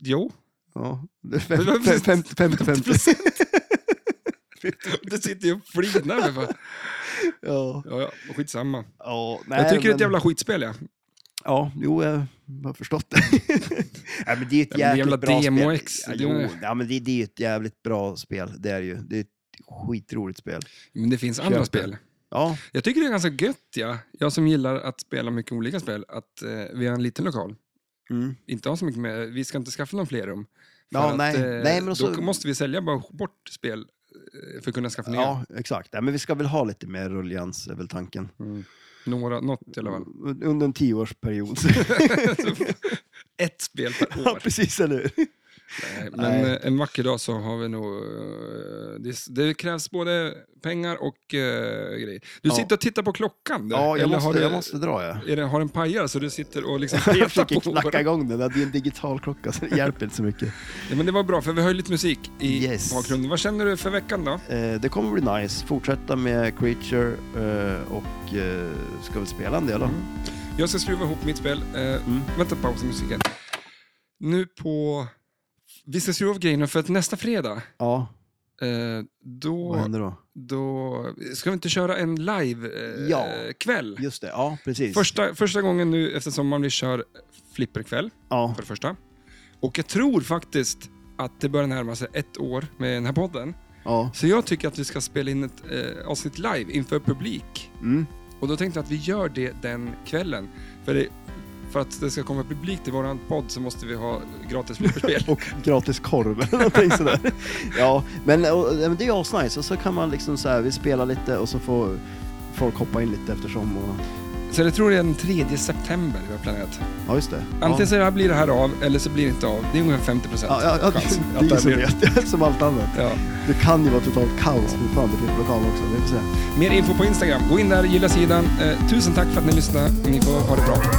A: Jo.
B: Ja, det är
A: Det var precis-
B: 50 50 50.
A: Du sitter ju och flinar. för fan.
B: Ja,
A: Ja, ja, skitsamma.
B: ja, nej,
A: Jag tycker det är
B: men-
A: ett jävla skitspel. Ja.
B: Ja, jo, jag har förstått det. nej, men det är ett
A: Ja, men det är
B: jäkligt
A: jävla
B: bra
A: Demo
B: spel.
A: X,
B: Ja,
A: det
B: jo,
A: är-
B: ja, men det, det är ett jävligt bra spel. Det är det ju. Det är ett skitroligt spel.
A: Men det finns andra
B: Köper.
A: spel.
B: Ja,
A: Jag tycker det är ganska gött, ja. jag som gillar att spela mycket olika spel, att eh, vi har en liten lokal.
B: mm.
A: Inte har så mycket med, vi ska inte skaffa någon fler rum. För eh,
B: Ja, nej. Nej, men
A: Då
B: också-
A: måste vi sälja bara bort spel eh, för att kunna skaffa nya.
B: Ja, exakt. Ja, men vi ska väl ha lite mer rullians, är väl tanken.
A: Mm. Några, något i alla fall.
B: Under en tioårsperiod.
A: Ett spel per
B: ja,
A: år.
B: precis, eller hur?
A: Nej, men
B: Nej.
A: eh, en vacker dag så har vi nog... eh, Det, det krävs både pengar och eh, grejer. Du
B: Ja.
A: sitter och tittar på klockan. du.
B: Ja, jag
A: Eller
B: måste,
A: har du,
B: jag måste dra, ja.
A: Är det, har en pajare så du sitter och liksom
B: Jag
A: petar
B: försöker
A: på
B: knacka
A: våra-
B: igång den, det är en digital klocka så det hjälper inte så mycket.
A: ja, men Det var bra, för vi har ju lite musik i
B: Yes.
A: bakgrunden. Vad känner du för veckan då?
B: Eh, det kommer bli nice. Fortsätta med Creature eh, och eh, ska vi spela en del då?
A: Jag ska skruva ihop mitt spel. Eh,
B: Mm.
A: Vänta, paus i musiken. Nu på... Vi ska skruva ihop grejerna för att nästa fredag,
B: Ja,
A: eh,
B: vad
A: då,
B: händer då?
A: då... Ska vi inte köra en live-kväll?
B: Ja.
A: Eh, kväll?
B: Just det, ja precis.
A: Första, första gången nu efter sommaren vi kör flipperkväll,
B: Ja,
A: för det första. Och jag tror faktiskt att det börjar närma sig ett år med den här podden.
B: ja.
A: Så jag tycker att vi ska spela in ett eh, avsnitt live inför publik.
B: Mm.
A: Och då tänkte jag att vi gör det den kvällen. För, det, för att det ska komma publik till våran podd så måste vi ha gratis flipperspel.
B: och gratis korv eller någonting sådär. Ja, men, eh, och, ja, men det är ju asnice och så kan man liksom så här, vi spelar lite och så får folk hoppa in lite eftersom och,
A: så jag tror det är den 3 september vi har planerat.
B: ja just det.
A: Antingen
B: ja.
A: så här blir det här av eller så blir det inte av. Det är ungefär 50 procent
B: Ja, ja, ja, det,
A: chans.
B: det är ju
A: här
B: som,
A: blir-
B: det, är som allt annat.
A: Ja.
B: Det kan ju vara totalt kaos fortfarande på lokalen också, vi får se.
A: Mer info på Instagram. Gå in där, gilla sidan. Eh, tusen tack för att ni lyssnade. Ni får ha det bra.